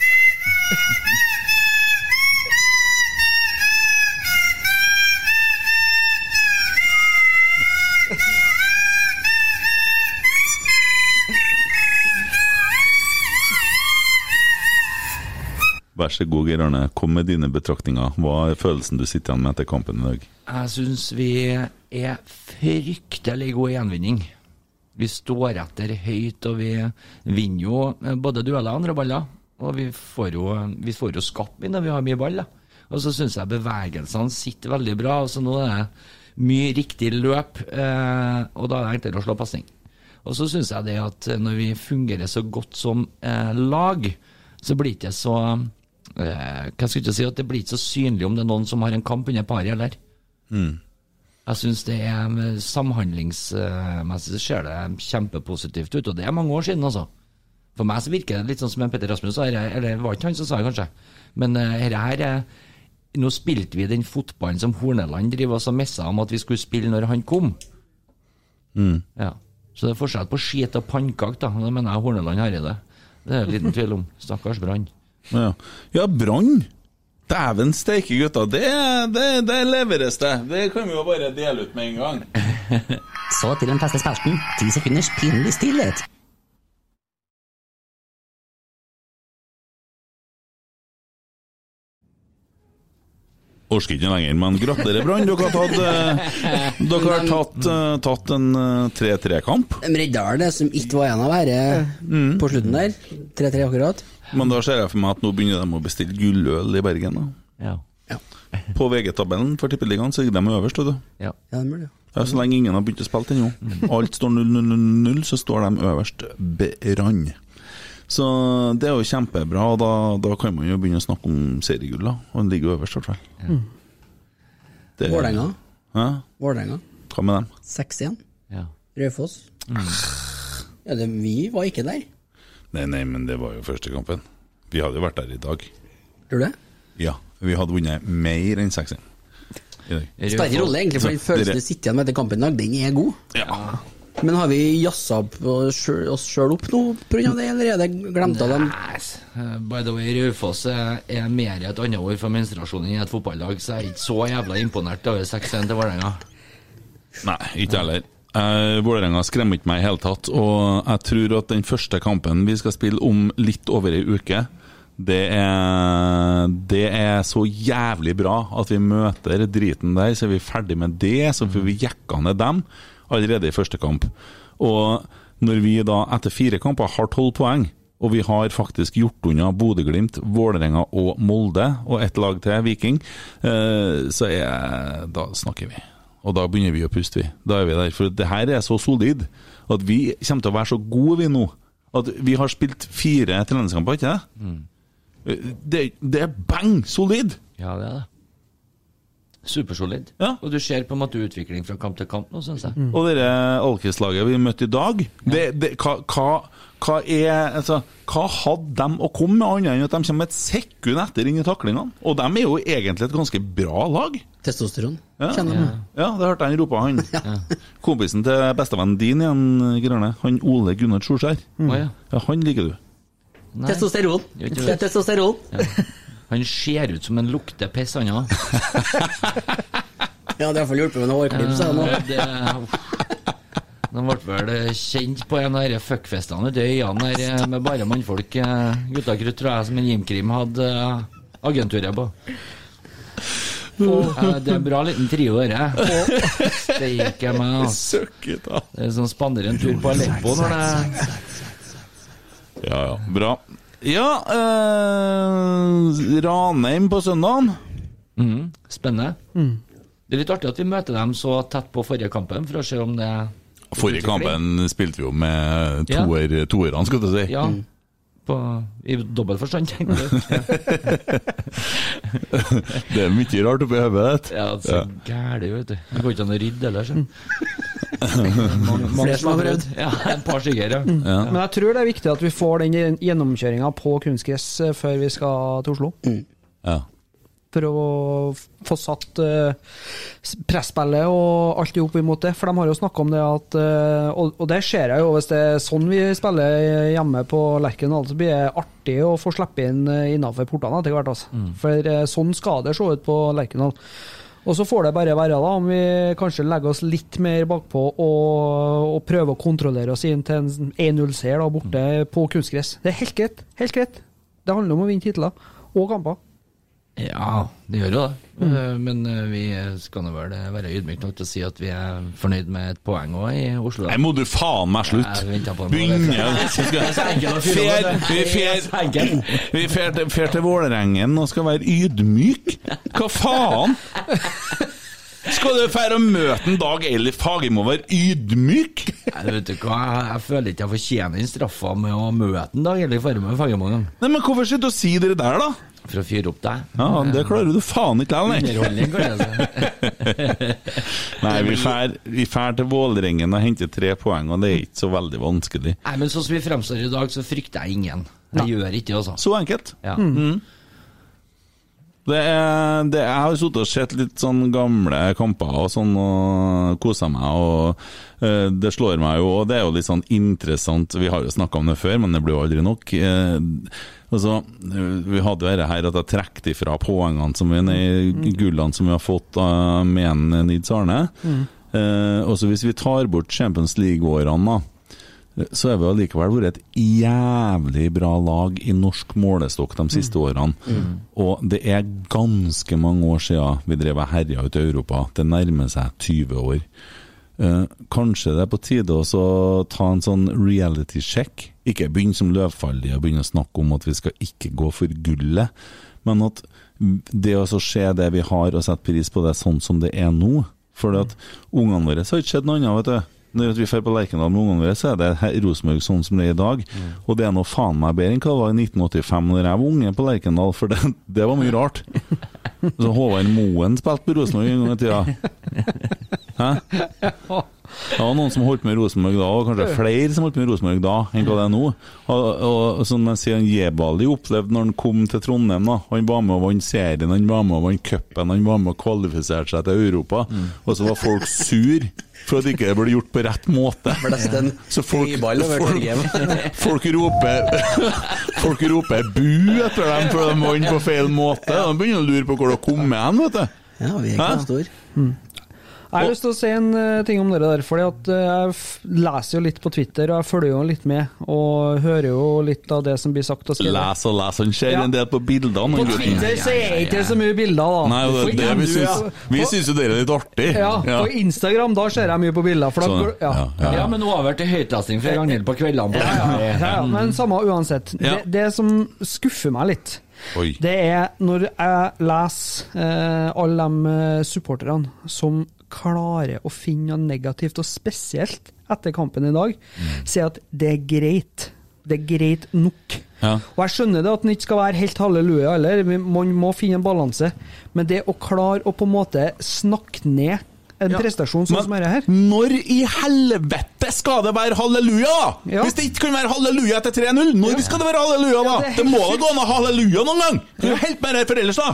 Speaker 1: Vær så god, Geir Arne. Kom med dine betraktninger. Hva er følelsen du sitter igjen med etter kampen i dag?
Speaker 5: Jeg syns vi er fryktelig gode i gjenvinning. Vi står etter høyt, og vi vinner jo eh, både dueller og andre baller. Og vi får jo, vi får jo skapt mye når vi har mye ball. Da. Og så syns jeg bevegelsene sitter veldig bra. Og så nå er det mye riktig løp, eh, og da er det enklere å slå pasning. Og så syns jeg det at når vi fungerer så godt som eh, lag, så blir det ikke så eh, Hva skal jeg ikke si, at det blir ikke så synlig om det er noen som har en kamp under paret, eller? Jeg syns det er eh, samhandlingsmessig så ser det kjempepositivt ut, og det er mange år siden, altså. For meg så virker det litt sånn som en Petter Rasmus, sa her, eller var ikke han som sa det, kanskje. Men eh, dette her er Nå spilte vi den fotballen som Horneland driver oss og messa om at vi skulle spille når han kom. Ja. Så det er forskjell på skit og pannekake, da. Det mener jeg Horneland har i det. Det er det liten tvil om. Stakkars Brann.
Speaker 1: Ja, ja Brann! Dæven steike, gutta. Det, det, det leveres, det. Det kan vi jo bare dele ut med en gang.
Speaker 7: Så til den faste spalten. Ti sekunders pinlig stillhet.
Speaker 1: Orker ikke lenger, men gratulerer, Brann. Dere har tatt, eh, dere har tatt, eh, tatt en eh, 3-3-kamp.
Speaker 6: De Reddal, det som ikke var en av ære på slutten der. 3-3 akkurat.
Speaker 1: Men da ser jeg for meg at nå begynner de å bestille gulløl i Bergen. da
Speaker 5: Ja.
Speaker 1: På VG-tabellen for Tippeligaen så ligger de øverst. vet Du.
Speaker 5: ja.
Speaker 6: Ja, det mulig.
Speaker 1: Ja, så lenge ingen har begynt å spille ennå. Alt står 0-0-0, så står de øverst. Brann. Så det er jo kjempebra, og da, da kan man jo begynne å snakke om seriegull. da Og den ligger jo øverst, i hvert fall. Det-
Speaker 6: Vålerenga.
Speaker 1: Hæ?
Speaker 6: Vålerenga.
Speaker 1: Hva med dem?
Speaker 6: 6-1.
Speaker 5: ja.
Speaker 6: Raufoss. Ja, det, vi var ikke der.
Speaker 1: Nei, nei, men det var jo første kampen. Vi hadde jo vært der i dag.
Speaker 6: Tror du det?
Speaker 1: Ja, vi hadde vunnet mer enn 6-1 i dag.
Speaker 6: Sperre rolle, egentlig, for den
Speaker 1: Så, dere-
Speaker 6: følelsen du sitter igjen med etter kampen i dag, den er god.
Speaker 1: Ja.
Speaker 6: Men har vi jazza opp oss sjøl- oss sjøl opp nå pga. det, eller er det glemt av dem?
Speaker 5: Yes. Uh, By the way, Raufoss er er mer et annet ord for menstruasjon enn et fotballag, så jeg er ikke så jævla imponert over 6-1 til Vålerenga.
Speaker 1: Nei, ikke heller. Eh, Vålerenga skremmer ikke meg i hele tatt. Og jeg tror at den første kampen vi skal spille om litt over ei uke, det er, det er så jævlig bra at vi møter driten der, så er vi ferdig med det. Så får vi jekka ned dem allerede i første kamp. Og når vi da etter fire kamper har tolv poeng, og vi har faktisk gjort unna Bodø-Glimt, Vålerenga og Molde, og ett lag til, Viking, eh, så er Da snakker vi. Og da begynner vi å puste, vi. Da er vi der. For det her er så solid at vi kommer til å være så gode, vi nå. At vi har spilt fire treningskamper, ikke det? Det, det er bang solid!
Speaker 5: Ja, det er det. Supersolid.
Speaker 1: Ja. Mm.
Speaker 5: Og du ser på en måte utvikling fra kamp til kamp nå, syns jeg.
Speaker 1: Og det Alkis-laget vi møtte i dag, det, det, hva, hva, hva er altså, Hva hadde de å komme med, annet enn at de kommer et sekund etter inn i taklingene? Og de er jo egentlig et ganske bra lag.
Speaker 6: Testosteron.
Speaker 1: Ja.
Speaker 6: Kjenner de det?
Speaker 1: Ja, det hørte jeg han ropa, han. Kompisen til bestevennen din igjen, Grønne, han Ole Gunnar Solskjær.
Speaker 5: Å, ja.
Speaker 1: Ja, han liker du.
Speaker 5: Nei.
Speaker 6: Testosteron.
Speaker 5: Jo, ikke
Speaker 6: Det er testosteron.
Speaker 5: Han ser ut som en lukter piss, han òg.
Speaker 6: Ja, det har i hvert fall hjulpet med noen hårklipp, sa jeg nå.
Speaker 5: Det, uff. De ble vel eh, kjent på en av disse fuckfestene ute i øyene der eh, med bare mannfolk. eh, Gutta krutt, tror jeg, som en Jimkrim hadde eh, agenturet på. Eh, Det er en bra liten trio, dette. Steike meg, ass.
Speaker 1: Søkket, da.
Speaker 5: Det er sånn spanderer en tur på Aleppo når det
Speaker 1: Ja, ja. Bra. Ja, eh, Ranheim på søndagen.
Speaker 5: mm, Spennende. Det er litt artig at vi møter dem så tett på forrige kampen, for å se om det
Speaker 1: Forrige kampen spilte vi jo med toer, toerne, skal du si.
Speaker 5: Ja. På, I dobbel forstand, tenker jeg.
Speaker 1: Det er mye rart oppi hodet ditt.
Speaker 5: Ja, det er så gæli, vet du. Det går ikke an å rydde ellers. ja. Mange,
Speaker 6: Flere som har prøvd.
Speaker 5: Ja, et par stykker, ja.
Speaker 1: Mm.
Speaker 2: Men jeg tror det er viktig at vi får den gjennomkjøringa på kunstgress eh, før vi skal til Oslo.
Speaker 1: Ja.
Speaker 2: For å f- få satt eh, s- presspillet og alt i hop imot det. For de har jo snakka om det at eh, Og, og det ser jeg jo, hvis det er sånn vi spiller hjemme på Lerkendal, så blir det artig å få slippe inn eh, innafor portene etter hvert. Altså. For eh, sånn skal det se ut på Lerkendal. Og så får det bare være da, om vi kanskje legger oss litt mer bakpå og, og prøver å kontrollere oss inn til en 1-0-seier da, borte på kunstgress. Det er helt greit. Helt greit. Det handler om å vinne titler og kamper.
Speaker 5: Ja, det gjør jo det.
Speaker 1: Mm.
Speaker 5: Eh, Men eh, vi skal nå vel eh, være ydmyke nok til å si at vi er fornøyd med et poeng òg i Oslo. da.
Speaker 1: Nei, må du faen meg slutte!
Speaker 5: Jeg venter på en
Speaker 1: Begynner
Speaker 5: måte. Det er så enkelt å fyre
Speaker 1: Fer-
Speaker 5: opp, det.
Speaker 1: vi fer-
Speaker 5: Det er så enkelt.
Speaker 1: Vi fer til- fer til Vålerengen og skal være ydmyk? Hva faen? Skal du fære og møte en Dag Eilif Fagermo og være ydmyk?
Speaker 5: Nei, vet du hva, jeg, jeg føler ikke jeg fortjener den straffa med å møte en dag, eller forme Fagermoen.
Speaker 1: Nei, men Hvorfor sitter du og sier det der, da?
Speaker 5: For å fyre opp deg.
Speaker 1: Ja, Det klarer du faen ikke likevel, nei.
Speaker 5: Underholdning, kanskje.
Speaker 1: Nei, vi fær, vi fær til Vålerengen og henter tre poeng, og det er ikke så veldig vanskelig.
Speaker 5: Nei, men sånn som vi fremstår i dag, så frykter jeg ingen. Jeg gjør ikke det, altså.
Speaker 1: Så enkelt.
Speaker 5: Ja. Mm.
Speaker 1: Det er, det, jeg har sittet og sett litt sånn gamle kamper og sånn og kosa meg, og eh, det slår meg jo, og det er jo litt sånn interessant Vi har jo snakka om det før, men det blir jo aldri nok. Eh, altså, eh, vi hadde jo dette her at jeg trakk ifra poengene som vi, nei, gullene som vi har fått av Menen Nids Arne. Eh, og så hvis vi tar bort Champions League-årene, da, så har vi allikevel vært et jævlig bra lag i norsk målestokk de siste årene. Og det er ganske mange år siden vi drev og herja ut i Europa. Det nærmer seg 20 år. Eh, kanskje det er på tide også å ta en sånn reality check. Ikke begynne som løvfallige og begynne å snakke om at vi skal ikke gå for gullet, men at det å så se det vi har og sette pris på det sånn som det er nå For at ungene våre så har ikke skjedd noe annet, vet du. Når at vi drar på Lerkendal med ungene våre, så er det her- Rosenborg sånn som det er i dag. Og det er nå faen meg bedre enn hva det var i 1985 når jeg var unge på Lerkendal, for det, det var mye rart. Så Håvard Moen spilte på Rosenborg en gang i tida. Det var noen som holdt med Rosenborg da, og kanskje flere som holdt med Rosenborg da enn hva det er nå. Og, og som jeg sier, han Jebali opplevde når han kom til Trondheim, da. Han var med og vant serien, han var med og vant cupen, han var med og kvalifiserte seg til Europa.
Speaker 2: Mm.
Speaker 1: Og så var folk sur for at ikke det ble gjort på rett måte.
Speaker 6: Nesten
Speaker 1: Så folk,
Speaker 6: ball over
Speaker 1: folk, folk roper Folk roper bu etter dem for de vant på feil måte. De begynner å lure på hvor de kom med hen, vet du.
Speaker 6: Ja, vi er ikke
Speaker 1: Hæ?
Speaker 6: så store.
Speaker 2: Jeg har lyst til å si en eh, ting om dere der, fordi at eh, jeg f- leser jo litt på Twitter, og jeg følger jo litt med, og hører jo litt av det som blir sagt og skrevet.
Speaker 1: Les og les, han ser
Speaker 2: Ja.
Speaker 1: en del på bildene. han
Speaker 2: På
Speaker 1: gutten.
Speaker 2: Twitter så er det ikke så mye bilder, da.
Speaker 1: Nei, det,
Speaker 2: For
Speaker 1: det
Speaker 2: hvem
Speaker 1: vi
Speaker 2: du er.
Speaker 1: syns, vi
Speaker 2: På-
Speaker 1: syns jo det er litt artig.
Speaker 2: Ja, på Instagram da ser jeg mye på bilder, for da
Speaker 1: Sånn,
Speaker 2: går ja.
Speaker 1: ja, ja.
Speaker 5: Ja, men over til høytlesning fra Ragnhild på kveldene. på kvelden.
Speaker 2: Ja, ja, men samme uansett.
Speaker 1: Ja.
Speaker 2: Det, det som skuffer meg litt,
Speaker 1: Oi.
Speaker 2: det er når jeg leser eh, alle de eh, supporterne som klarer å finne noe negativt, og spesielt etter kampen i dag,
Speaker 1: Mm.
Speaker 2: sier at det er greit. Det er greit nok.
Speaker 1: Ja.
Speaker 2: Og jeg skjønner det at den ikke skal være helt halleluja heller, men man må finne en balanse. Men det å klare å på en måte snakke ned en prestasjon sånn som dette her
Speaker 1: Men når i helvete skal det være halleluja?!
Speaker 2: Ja.
Speaker 1: Hvis det ikke kan være halleluja etter 3-0, når skal det være halleluja da?!
Speaker 2: Ja,
Speaker 1: det,
Speaker 2: det er helt
Speaker 1: må da
Speaker 2: sykt.
Speaker 1: gå an å ha halleluja noen gang! Du er helt med her for ellers, da!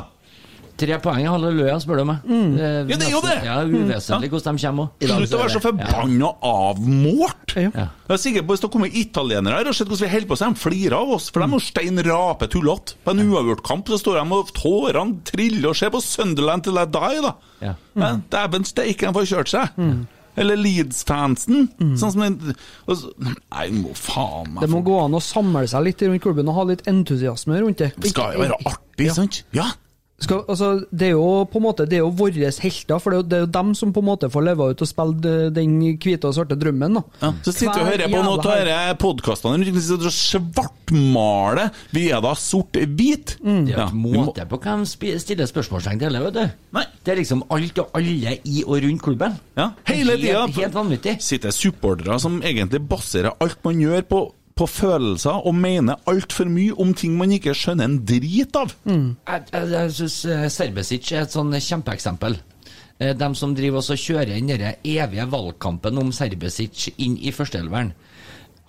Speaker 5: Tre poeng i halleluja, spør du meg. Eh,
Speaker 1: Mm. Ja, det er jo
Speaker 5: nesten-
Speaker 1: det.
Speaker 5: Ja, Uvesentlig hvordan de kommer òg.
Speaker 1: Slutt å være så forbanna avmålt!
Speaker 2: Ja.
Speaker 1: Jeg er sikker på Hvis det kommer italienere her og ser hvordan vi holder på, så de flirer av oss. For de er jo stein rape tullete. På en uavgjort kamp så står de og tårene triller og ser på Sunderland til I die, da.
Speaker 5: Ja.
Speaker 2: Mm.
Speaker 1: Men Dæven steike, de får kjørt seg. Eller Leeds-fansen. Sånn som den og så- Nei, må faen meg
Speaker 2: Det må gå an å samle seg litt rundt klubben og ha litt entusiasme rundt det.
Speaker 1: Det skal jo være artig, sant? Ja.
Speaker 2: Skal, altså, det er jo på en måte Det er jo våre helter, for det er jo, det er jo dem som på en måte får leve ut og spille de- den hvite og svarte drømmen. Da.
Speaker 1: Ja, så sitter vi og
Speaker 2: Hver
Speaker 1: hører på noen
Speaker 2: jævla
Speaker 1: av disse podkastene rundt, vi sitter og svartmaler. Vi er da sort-hvit.
Speaker 2: Mm.
Speaker 5: Det er jo
Speaker 1: Ja,
Speaker 5: ikke
Speaker 1: vi må-
Speaker 5: måte på hvem spi- stiller spørsmålstegn til heller, vet du.
Speaker 1: Nei.
Speaker 5: Det er liksom alt og alle i og rundt klubben.
Speaker 1: Ja, hele
Speaker 5: Det er
Speaker 1: tida
Speaker 5: helt- Helt vanvittig.
Speaker 1: sitter det supportere som egentlig baserer alt man gjør på, på følelser, og mener altfor mye om ting man ikke skjønner en drit av.
Speaker 5: Jeg, jeg, jeg syns Serbesic er et sånn kjempeeksempel. Eh, De som driver også og kjører inn den evige valgkampen om Serbesic inn i førsteelveren.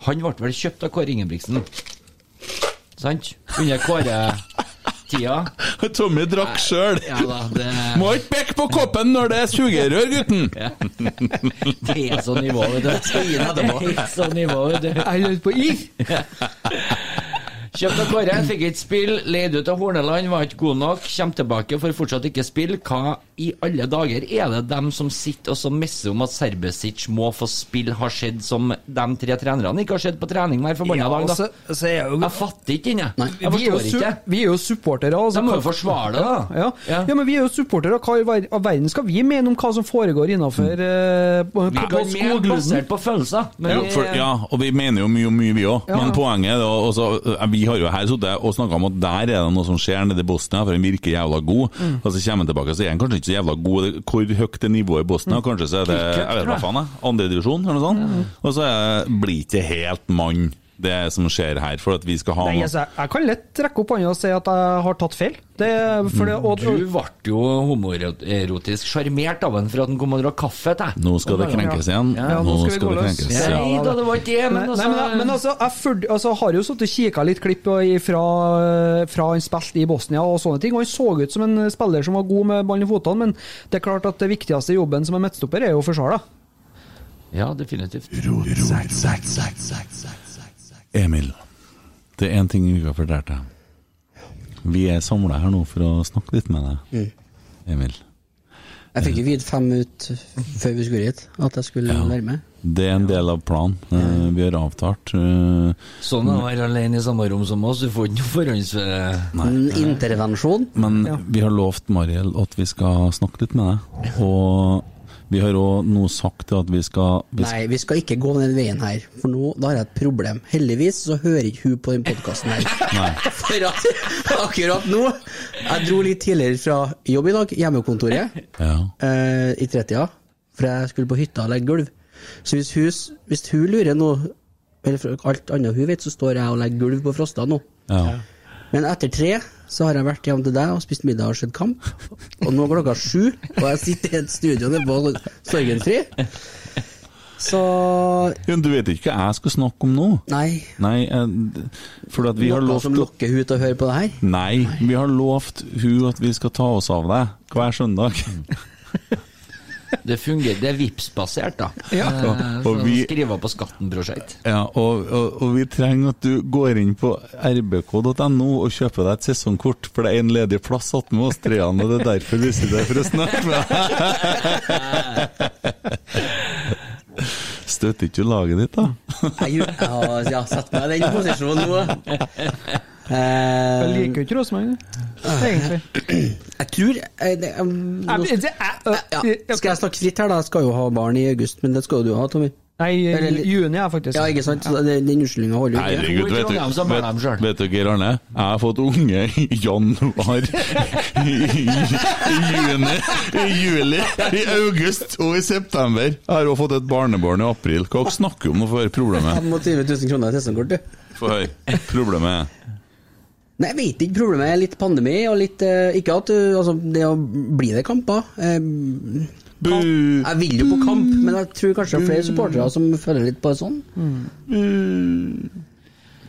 Speaker 5: Han ble vel kjøpt av Kåre Ingebrigtsen? Sant? Under Kåre-tida.
Speaker 1: Tommy drakk sjøl!
Speaker 5: Ja da, det,
Speaker 1: Må ikke bekke på koppen når det er sugerør, gutten!
Speaker 5: det er sånn nivå, vet du. Det er helt sånn nivå, vet du.
Speaker 2: Jeg lurer på is!
Speaker 5: Kjøpt av Kåre, fikk ikke spille, leid ut av Horneland, var ikke god nok, kommer tilbake for fortsatt ikke spille. Hva i alle dager er det dem som sitter og som messer om at Serbesic må få spille, har skjedd som de tre trenerne ikke har skjedd på trening hver forbanna
Speaker 2: Ja,
Speaker 5: dag, da?
Speaker 2: så, så er jo,
Speaker 5: Jeg fatter ikke den, jeg. Jeg
Speaker 2: vi, er jo
Speaker 5: forstår
Speaker 2: su
Speaker 5: ikke.
Speaker 2: vi er jo supportere. Altså,
Speaker 5: De må jo forsvare det, da.
Speaker 2: Ja, ja.
Speaker 5: Ja.
Speaker 2: ja, men vi er jo supportere. Hva i ver- av verden skal vi mene om hva som foregår innafor eh, på,
Speaker 5: Vi
Speaker 2: på, på
Speaker 5: går mer
Speaker 2: skogluden?
Speaker 5: basert på følelser. Men
Speaker 1: Ja,
Speaker 5: vi-
Speaker 1: for, ja, og vi mener jo mye om mye, vi òg.
Speaker 2: Ja,
Speaker 1: Men
Speaker 2: ja.
Speaker 1: poenget er da også, eh, Vi har jo her sittet og snakka om at der er det noe som skjer nede i Bosnia, for den virker jævla god.
Speaker 2: Mm.
Speaker 1: Og så kommer han tilbake og så er han kanskje ikke så jævla god. Det- Hvor høyt er nivået i Bosnia?
Speaker 2: Mm.
Speaker 1: Kanskje så er det jeg vet hva faen jeg, andredivisjon, eller noe sånt. Og så er, blir ikke helt mann, det som skjer her, for at vi skal ha
Speaker 2: Nei,
Speaker 1: noe.
Speaker 2: altså, jeg- jeg kan lett trekke opp hånda og si at jeg har tatt feil. Det, for det, og,
Speaker 5: Du ble jo homoerotisk sjarmert av han for at han kom og drakk kaffe til deg.
Speaker 1: Nå skal det krenkes igjen.
Speaker 2: Ja, nå skal vi gå løs.
Speaker 1: krenkes.
Speaker 2: Ja.
Speaker 5: Nei da, det var ikke det, men
Speaker 2: Nei, men, jeg- men
Speaker 5: altså
Speaker 2: altså, jeg følg- altså, jeg har jo sittet og kikka litt klipp i- fra, fra han spilte i Bosnia og sånne ting, og han så ut som en spiller som var god med ballen i fotene, men det er klart at det viktigste i jobben som en midtstopper er jo å forsvare.
Speaker 5: Ja, definitivt.
Speaker 1: Emil, det er én ting vi ikke har fortalt deg. Vi er samla her nå for å snakke litt med deg, Emil.
Speaker 6: Jeg fikk jo vidt fem ut før vi skulle hit, at jeg skulle være med.
Speaker 1: Det er en del av planen. eh, Vi har avtalt. eh,
Speaker 5: Sånn å være alene i samme rom som oss, du får ikke noe forhånds...
Speaker 6: En intervensjon.
Speaker 1: Men vi har lovt Mariel at vi skal snakke litt med deg. Og vi har òg nå sagt at vi skal vi
Speaker 6: Nei, vi skal ikke gå den veien her, for nå da har jeg et problem. Heldigvis så hører ikke hun på den podkasten her. For at, akkurat nå Jeg dro litt tidligere fra jobb i dag, hjemmekontoret,
Speaker 1: Ja.
Speaker 6: eh, i 30-tida, for jeg skulle på hytta og legge gulv. Så hvis hun, s- hvis hun lurer nå, eller for alt annet hun vet, så står jeg og legger gulv på Frosta nå.
Speaker 1: ja.
Speaker 6: Men etter tre så har jeg vært hjem til deg og spist middag og sett kamp. Og nå er klokka sju, og jeg sitter i et studio nede på Sorgenfri. Så
Speaker 1: Jo, men Du vet ikke hva jeg skal snakke om nå?
Speaker 6: Nei.
Speaker 1: Nei, eh, d- for at vi har
Speaker 6: noe
Speaker 1: lovt
Speaker 6: som lokker hun til å høre på det her?
Speaker 1: Nei, vi har lovt hun at vi skal ta oss av deg hver søndag.
Speaker 5: Det fungerer, det er Vipps-basert, da. Eh,
Speaker 1: Og- og
Speaker 5: sånn
Speaker 1: vi-
Speaker 5: Skriver på skatten-prosjekt.
Speaker 1: Ja, og, og, og vi trenger at du går inn på rbk.no og kjøper deg et sesongkort, for det er en ledig plass attmed oss treene, og det er derfor vi sitter her for å snakke med deg. Støtter ikke du laget ditt, da?
Speaker 6: Jeg, gjør- jeg har jeg har satt meg i den posisjonen nå.
Speaker 2: Jeg
Speaker 6: Eh,
Speaker 2: liker jo ikke Rosenborg, egentlig.
Speaker 6: jeg tror eh, det, um,
Speaker 2: Jeg-
Speaker 6: nå-
Speaker 2: det- det-
Speaker 6: ja,
Speaker 2: jeg- jeg-
Speaker 6: Skal jeg snakke fritt her, da? Jeg skal jo ha barn i august, men det skal jo du ha, Tommy.
Speaker 2: Nei, i juni er jeg faktisk
Speaker 6: Ja, ikke sant? Så det- Den unnskyldninga holder jo ikke.
Speaker 1: Herregud, vet du, vet, vet du Geir Arne? Jeg har fått unge i januar, i, i juni, i juli, i august og i september. Jeg har også fått et barnebarn i april. Hva dere snakker om nå for problemet?
Speaker 6: 25 000 kroner i sesongkort, du.
Speaker 1: Få høre. Problemet er
Speaker 6: Nei, jeg vet ikke. Problemet er litt pandemi og litt eh, Ikke at du Altså, det å bli det kamper eh,
Speaker 1: Bu!
Speaker 6: Jeg vil jo på kamp, men jeg tror kanskje det er
Speaker 2: Mm.
Speaker 6: flere supportere som føler litt på det sånn.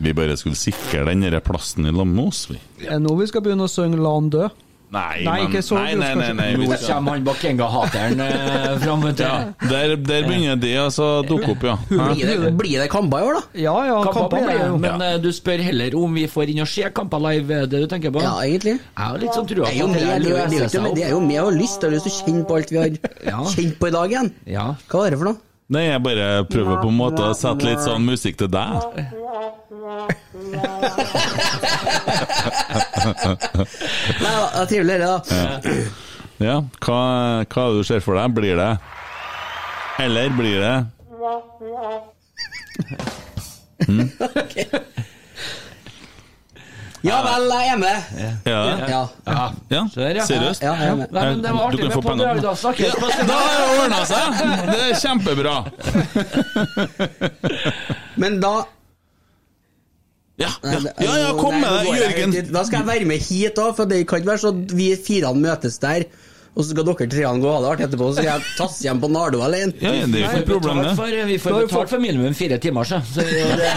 Speaker 1: Vi bare skulle sikre den der plassen i lag med oss, vi.
Speaker 2: Eh, Det er nå vi skal begynne å synge 'La han dø'.
Speaker 1: Nei,
Speaker 2: Nei,
Speaker 1: men-
Speaker 2: ikke så
Speaker 1: nei, nei, nei, nei,
Speaker 5: Nå
Speaker 1: vi skal-
Speaker 5: kommer han Bakenga-hateren eh, fram, vet du.
Speaker 1: ja, der, der begynner det altså å dukke opp, ja. Hæ?
Speaker 6: Blir det, blir det Kamba i år, da?
Speaker 2: Ja, ja,
Speaker 5: Kamper
Speaker 2: kamper
Speaker 5: blir
Speaker 2: blir
Speaker 5: det,
Speaker 2: jo.
Speaker 5: men eh, du spør heller om vi får inn og se kamper live, er det du tenker på?
Speaker 6: Ja, egentlig.
Speaker 5: Jeg har litt sånn trua
Speaker 6: Det er jo
Speaker 5: på at
Speaker 6: med,
Speaker 5: det
Speaker 6: det er jo
Speaker 5: løser
Speaker 6: ikke,
Speaker 5: seg
Speaker 6: men det
Speaker 5: opp.
Speaker 6: er jo med og lyst. Jeg har lyst til å kjenne på alt vi
Speaker 5: altså. Ja.
Speaker 6: har kjent på i dag igjen.
Speaker 5: Ja.
Speaker 6: Hva var det for noe?
Speaker 1: Nei, jeg bare prøver på en måte å sette litt sånn musikk til deg.
Speaker 6: Nei, ja, det er trivelig det, da.
Speaker 1: Ja, hva, hva er det du ser for deg? Blir det Eller blir det
Speaker 6: Ja vel, jeg er
Speaker 1: Ja,
Speaker 6: med. Ja,
Speaker 5: Ja.
Speaker 1: ja.
Speaker 5: Der, ja.
Speaker 1: seriøst?
Speaker 6: ja jeg er med.
Speaker 5: Nei, men det var
Speaker 1: Du
Speaker 5: artig
Speaker 1: kan
Speaker 5: med
Speaker 1: få
Speaker 5: Pål
Speaker 1: penger.
Speaker 5: Jardal snakkes.
Speaker 1: Da har det ordna seg! Det er kjempebra.
Speaker 6: Men da
Speaker 1: Ja,
Speaker 6: Nei,
Speaker 1: ja,
Speaker 6: det-
Speaker 1: ja, ja kom
Speaker 6: Nei,
Speaker 1: med
Speaker 6: nå
Speaker 1: deg,
Speaker 6: går jeg
Speaker 1: Jørgen.
Speaker 6: ut dit. Da skal jeg være med hit, da, for det kan ikke være sånn at vi firene møtes der, og så skal dere treene gå og ha det artig etterpå, så skal jeg tasse hjem på Nardo alene.
Speaker 1: Ja, ja, det er jo
Speaker 5: Vi
Speaker 1: ikke noe
Speaker 5: får
Speaker 1: problem,
Speaker 5: betalt
Speaker 1: det.
Speaker 5: for, vi får betalt for minimum fire timer, så. så det, er jo det,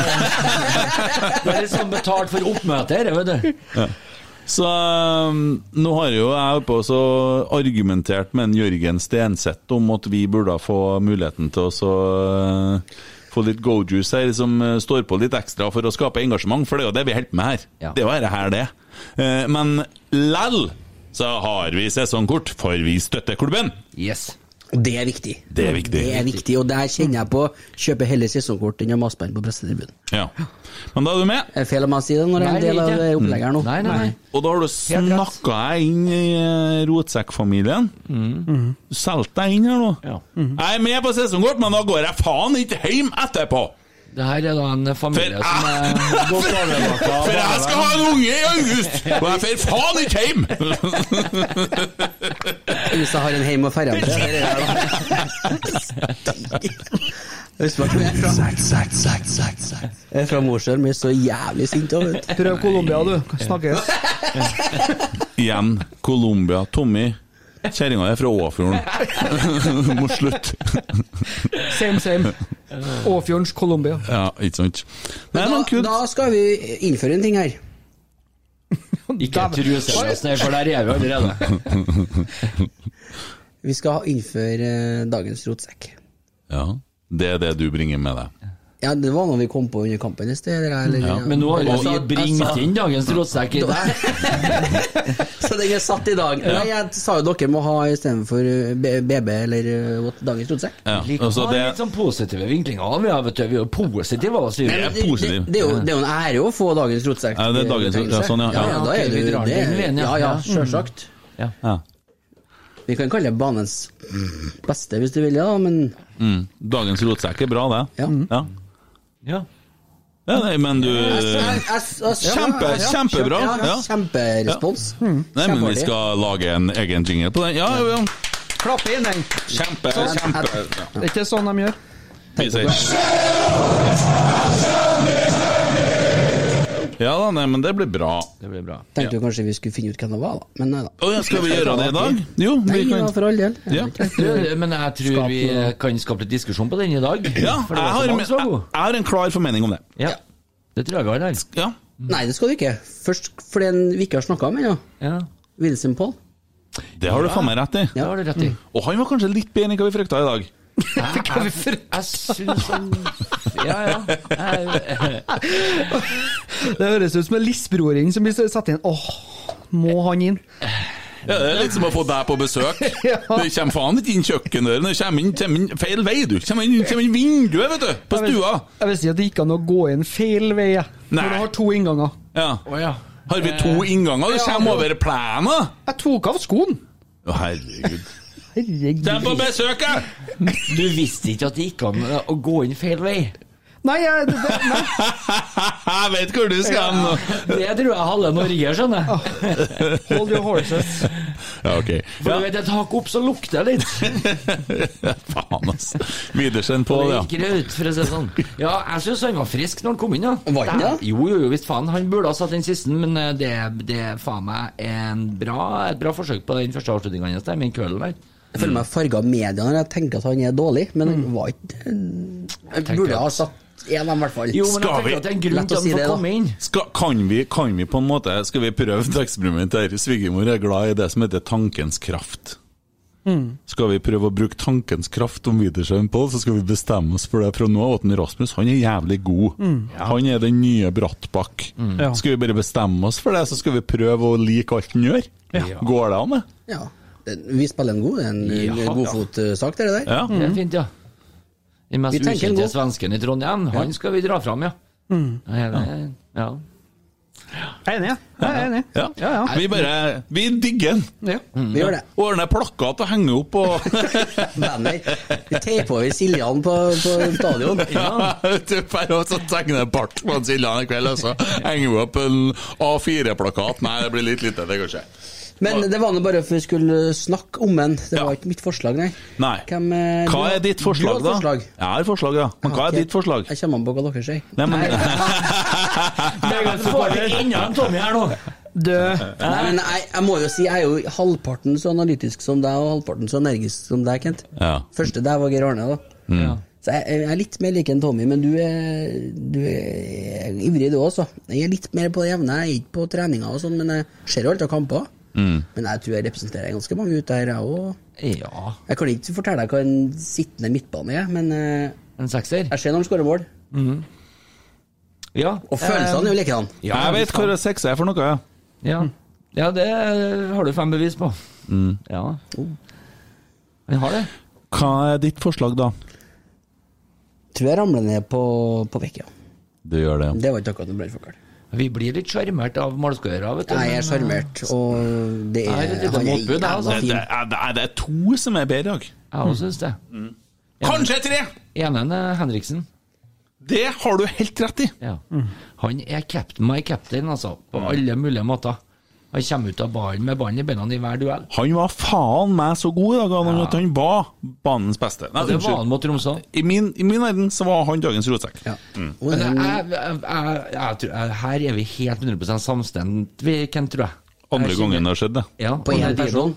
Speaker 5: det er litt sånn betalt for oppmøte her, vet du.
Speaker 1: Så um, nå har jo jeg oppe også argumentert med en Jørgen Stenseth om at vi burde få muligheten til å så, uh, få litt go-juice her, som uh, står på litt ekstra for å skape engasjement, for det er jo det vi holder på med her.
Speaker 5: Ja.
Speaker 1: Det er jo dette her, det. Uh, men lell så har vi sesongkort, for vi støtter klubben.
Speaker 5: Yes.
Speaker 6: Og det er viktig.
Speaker 1: Det er viktig.
Speaker 6: Det er viktig, og der kjenner jeg på kjøper heller sesongkort enn å mase på den på pressetilbud.
Speaker 1: Ja. Men da er du med.
Speaker 6: Er det feil om jeg sier det når jeg er en
Speaker 5: Nei,
Speaker 6: del av
Speaker 5: ikke.
Speaker 6: det opplegget her nå?
Speaker 5: Nei, nei, nei.
Speaker 1: Og da har du
Speaker 5: rett.
Speaker 1: snakka deg inn i eh, rotsekkfamilien. Du solgte deg inn her nå. Mm.
Speaker 5: Mm. Ja. Mm.
Speaker 1: Jeg er med på sesongkort, men da går jeg faen ikke hjem etterpå!
Speaker 5: Det her er da en
Speaker 1: For,
Speaker 5: familie som er
Speaker 1: jeg,
Speaker 5: godt overvåka. av
Speaker 1: for jeg skal ha
Speaker 5: barnevernet.
Speaker 1: en unge i august! Og jeg får faen ikke hjem!
Speaker 6: Hvis jeg har en heim og ferja med Jeg er fra Mosjøen, men jeg er så jævlig sint. da, vet du.
Speaker 2: Prøv Colombia, du. Snakkes.
Speaker 1: Igjen Colombia. Tommy, kjerringa er fra Åfjorden. Må slutte.
Speaker 2: Same, same. Åfjordens Colombia.
Speaker 1: Ja, ikke sant. Nei, men
Speaker 6: Da,
Speaker 1: kult.
Speaker 6: da skal vi innføre en ting her.
Speaker 5: Ikke truseløs, nei, for der er vi allerede.
Speaker 6: Vi skal innføre eh, dagens rotsekk.
Speaker 1: Ja, det er det du bringer med deg.
Speaker 6: Ja, Det var noe vi kom på under kampen i sted. Eller, eller, ja.
Speaker 5: Men nå har jo vi
Speaker 6: Altså, altså,
Speaker 5: bringt inn dagens rotsekk i deg.
Speaker 6: Så den er satt i dag. Nei, jeg sa jo dere må ha istedenfor eh, B- BB eller eh, what- dagens rotsekk.
Speaker 1: Ja,
Speaker 5: Vi
Speaker 1: altså
Speaker 5: har
Speaker 1: det,
Speaker 5: litt sånn positive vinklinger av, ja, vet du. Vi er jo positive, altså.
Speaker 1: Det er
Speaker 6: Det, det,
Speaker 1: positivt.
Speaker 6: det, er jo, det er jo en ære å få dagens rotsekk.
Speaker 1: Ja, det er dagens- ja, sånn, ja.
Speaker 6: ja, ja, da
Speaker 5: Ja,
Speaker 6: er
Speaker 5: ok, vi
Speaker 6: det,
Speaker 5: drar
Speaker 6: det,
Speaker 5: den veien, ja.
Speaker 6: ja, ja,
Speaker 5: Ja. Mm.
Speaker 6: sjølsagt.
Speaker 5: sånn-
Speaker 1: ja.
Speaker 6: Vi kan kalle det banens beste, hvis du vil, ja, men
Speaker 1: Dagens rotsekk er bra, det.
Speaker 6: ja.
Speaker 1: Ja.
Speaker 5: Ja.
Speaker 1: Ja, nei, men du Eh, Kjempe, kjempebra.
Speaker 6: Ja,
Speaker 1: Ja.
Speaker 6: Kjemperespons.
Speaker 5: Mm.
Speaker 1: Nei, men vi
Speaker 6: Kjempeartig.
Speaker 1: skal lage en egen jingle på den. Ja, ja, ja.
Speaker 2: Klappe inn den.
Speaker 1: Kjempe,
Speaker 6: Sånn.
Speaker 1: kjempe ja.
Speaker 2: Det er ikke sånn de gjør.
Speaker 1: Vi sier Ja da, nei, men det blir bra.
Speaker 5: Det blir bra.
Speaker 6: Tenkte jo kanskje vi skulle finne ut hvem det var, da. Men nei da.
Speaker 1: Å ja, skal vi gjøre det i dag? Jo,
Speaker 6: Nei,
Speaker 1: vi
Speaker 6: ja,
Speaker 1: kan
Speaker 6: for all del.
Speaker 1: Ja.
Speaker 5: Du, Men jeg tror vi kan skape litt diskusjon på den i dag.
Speaker 1: Ja, jeg
Speaker 5: for det var
Speaker 1: har,
Speaker 5: så mange
Speaker 1: jeg,
Speaker 5: som var gode.
Speaker 1: jeg har en klar formening om det.
Speaker 5: Ja. Det tror jeg vi har der.
Speaker 1: Ja.
Speaker 6: Nei, det skal du ikke. Først for den vi ikke har snakka om ennå.
Speaker 5: Ja,
Speaker 6: Wilson Paul.
Speaker 1: Det har du faen meg rett i.
Speaker 5: det har du rett i.
Speaker 1: Og han var kanskje litt bedre enn hva vi frykta i dag.
Speaker 5: Jeg, jeg, jeg syns han Ja, ja. Jeg,
Speaker 2: Det høres ut som en lissbroring som blir satt inn. Åh, må han inn?
Speaker 1: Ja, det er litt som å få deg på besøk.
Speaker 2: Ja.
Speaker 1: Du kommer faen ikke inn kjøkkendøren, du kommer inn, kommer inn feil vei, du. Kommer inn, kommer inn vinduet, vet du. På
Speaker 2: Jeg vil-
Speaker 1: stua.
Speaker 2: Jeg vil si at det gikk an å gå inn feil vei. jeg.
Speaker 1: Nei.
Speaker 2: Når du har to innganger.
Speaker 1: Ja.
Speaker 5: Å, ja.
Speaker 1: Har vi to innganger? Du
Speaker 2: ja,
Speaker 1: kommer
Speaker 2: det-
Speaker 1: over plena!
Speaker 2: Jeg tok av skoen!
Speaker 1: Å, herregud. Dem på
Speaker 2: Herregud.
Speaker 1: besøk, ja!
Speaker 5: Du visste ikke at det gikk an eh, å gå inn feil vei?
Speaker 2: Nei, jeg, det, det, nei.
Speaker 1: Jeg vet hvor du skal hen nå.
Speaker 5: Det tror jeg halve Norge skjønner.
Speaker 2: Hold your horses.
Speaker 1: Ja, ok. Ja,
Speaker 5: For du vet, et hakk opp, så lukter det litt.
Speaker 1: faen, ass. Widersen på,
Speaker 5: Det
Speaker 1: ja.
Speaker 5: gikk ut, for å si det sånn. Ja, jeg syns han var frisk når han kom inn, ja.
Speaker 6: Var han det?
Speaker 5: Jo, jo, jo, visst faen. Han burde ha satt den siste, men eh, det, det er faen meg en bra, et bra forsøk på den første avslutninga hans der, med den køllen der.
Speaker 6: Jeg føler meg farga av media når jeg tenker at han er dålig, men han var ikke Jeg
Speaker 5: tenker
Speaker 6: burde
Speaker 5: at-
Speaker 6: ha satt en av dem, i hvert fall.
Speaker 5: Jo, men
Speaker 1: Skal
Speaker 5: jeg
Speaker 1: vi-
Speaker 5: tenker at det er en grunn
Speaker 6: Lett
Speaker 5: til
Speaker 6: å
Speaker 5: at
Speaker 6: si
Speaker 5: han
Speaker 6: det,
Speaker 5: får
Speaker 6: da.
Speaker 5: komme inn.
Speaker 1: Skal, kan, vi, kan vi på en måte Skal vi prøve et eksperiment her? Svigermor er glad i det som heter tankens kraft.
Speaker 2: Mm.
Speaker 1: Skal vi prøve å bruke tankens kraft om Widersen på, så skal vi bestemme oss for det fra nå av. at den Rasmus han er jævlig god. Han er den nye Brattbakk.
Speaker 2: Mm. Ja.
Speaker 1: Skal vi bare bestemme oss for det, så skal vi prøve å like alt han gjør? Går det an, det?
Speaker 2: Mm.
Speaker 6: Ja. Den, vi spiller en god, en,
Speaker 5: Ja,
Speaker 6: en godfotsak, det der.
Speaker 1: Ja.
Speaker 5: Det er fint, ja. Den mest
Speaker 6: Mm. Vi tenker Mm.
Speaker 5: ukjente
Speaker 6: godt.
Speaker 5: svensken i Trondheim, han skal vi dra fram, ja. Ja, det- ja.
Speaker 2: Jeg er enig, jeg. Jeg er enig.
Speaker 1: Ja.
Speaker 2: Ja, ja.
Speaker 1: Vi bare Vi digger den!
Speaker 2: Ja.
Speaker 6: Vi gjør det.
Speaker 1: Ordner plakat og henger opp og
Speaker 6: Banner. Vi teiper over Siljan på, på stadion.
Speaker 1: Ja, vet du, bare og så tegner jeg bart på en Siljan i kveld, og så henger vi opp en A4-plakat. Nei, det blir litt lite, det kanskje.
Speaker 6: Men det var nå bare for vi skulle snakke om den. Det
Speaker 1: Ja.
Speaker 6: var ikke mitt forslag, nei.
Speaker 1: Nei.
Speaker 6: Hvem, eh,
Speaker 1: Hva
Speaker 6: du-
Speaker 1: er ditt forslag,
Speaker 6: du
Speaker 1: da?
Speaker 6: har forslag.
Speaker 1: Jeg har forslag, ja. Men hva er
Speaker 6: Ok.
Speaker 1: ditt forslag?
Speaker 6: Jeg kommer an på hva dere sier.
Speaker 1: Nei, men
Speaker 5: Får vi enda en Tommy her nå?
Speaker 2: Du,
Speaker 6: Nei, men jeg, jeg må jo si jeg er jo halvparten så analytisk som deg, og halvparten så energisk som deg, Kent.
Speaker 1: Ja.
Speaker 6: Første der var Geir Arne, da. Så jeg, jeg er litt mer lik en Tommy, men du er, du er ivrig, du også. Jeg er litt mer på det jevne. Jeg er ikke på treninger og sånn, men jeg ser jo alltid kamper. Men jeg tror jeg representerer ganske mange ut der, jeg òg.
Speaker 5: Ja.
Speaker 6: Jeg kan ikke fortelle deg hva en sittende midtbane er, men eh,
Speaker 5: En sekser?
Speaker 6: jeg ser når han skårer mål.
Speaker 5: Ja.
Speaker 6: Og følelsene er jo likedan.
Speaker 5: Ja,
Speaker 1: jeg vet hva sex er for noe, ja.
Speaker 5: Ja.
Speaker 6: Mm.
Speaker 5: ja, det har du fem bevis på. Ja. Vi har det.
Speaker 1: Hva er ditt forslag, da?
Speaker 6: Tror jeg ramler ned på, på vekk, ja.
Speaker 1: Du gjør det.
Speaker 6: Det var ikke akkurat en brannfakkel.
Speaker 5: Vi blir litt sjarmert av målskårere, vet du. men,
Speaker 6: Jeg er
Speaker 5: eh,
Speaker 6: sjarmert, og det er
Speaker 5: Nei, det er litt
Speaker 6: han er
Speaker 5: motbud,
Speaker 6: jævla
Speaker 5: altså.
Speaker 6: fin.
Speaker 1: Det er, det er- det er to som er bedre i dag.
Speaker 5: eh, Jeg
Speaker 6: Mm.
Speaker 5: også syns det.
Speaker 1: Kanskje tre!
Speaker 5: Enen er Henriksen.
Speaker 1: Det har du helt rett i.
Speaker 5: Ja.
Speaker 6: Mm.
Speaker 5: Han er captain my captain, altså. På alle mulige måter. Han kommer ut av ballen med ballen i beina i hver duell.
Speaker 1: Han var faen meg så god i dag, han, at han var banens beste. Nei,
Speaker 5: Det var
Speaker 1: unnskyld.
Speaker 5: han mot Tromsø.
Speaker 1: I min, I min verden så var han dagens rotsekk.
Speaker 6: Ja. Og
Speaker 5: Men jeg,
Speaker 6: den-
Speaker 5: jeg, jeg, jeg, tror- jeg, her er vi helt 100 samstemt, vi, Kent, tror jeg.
Speaker 1: Andre
Speaker 5: Jeg kjenner-
Speaker 1: gangen det har skjedd, det.
Speaker 5: Ja,
Speaker 6: På
Speaker 5: og
Speaker 6: én
Speaker 5: det-
Speaker 6: person?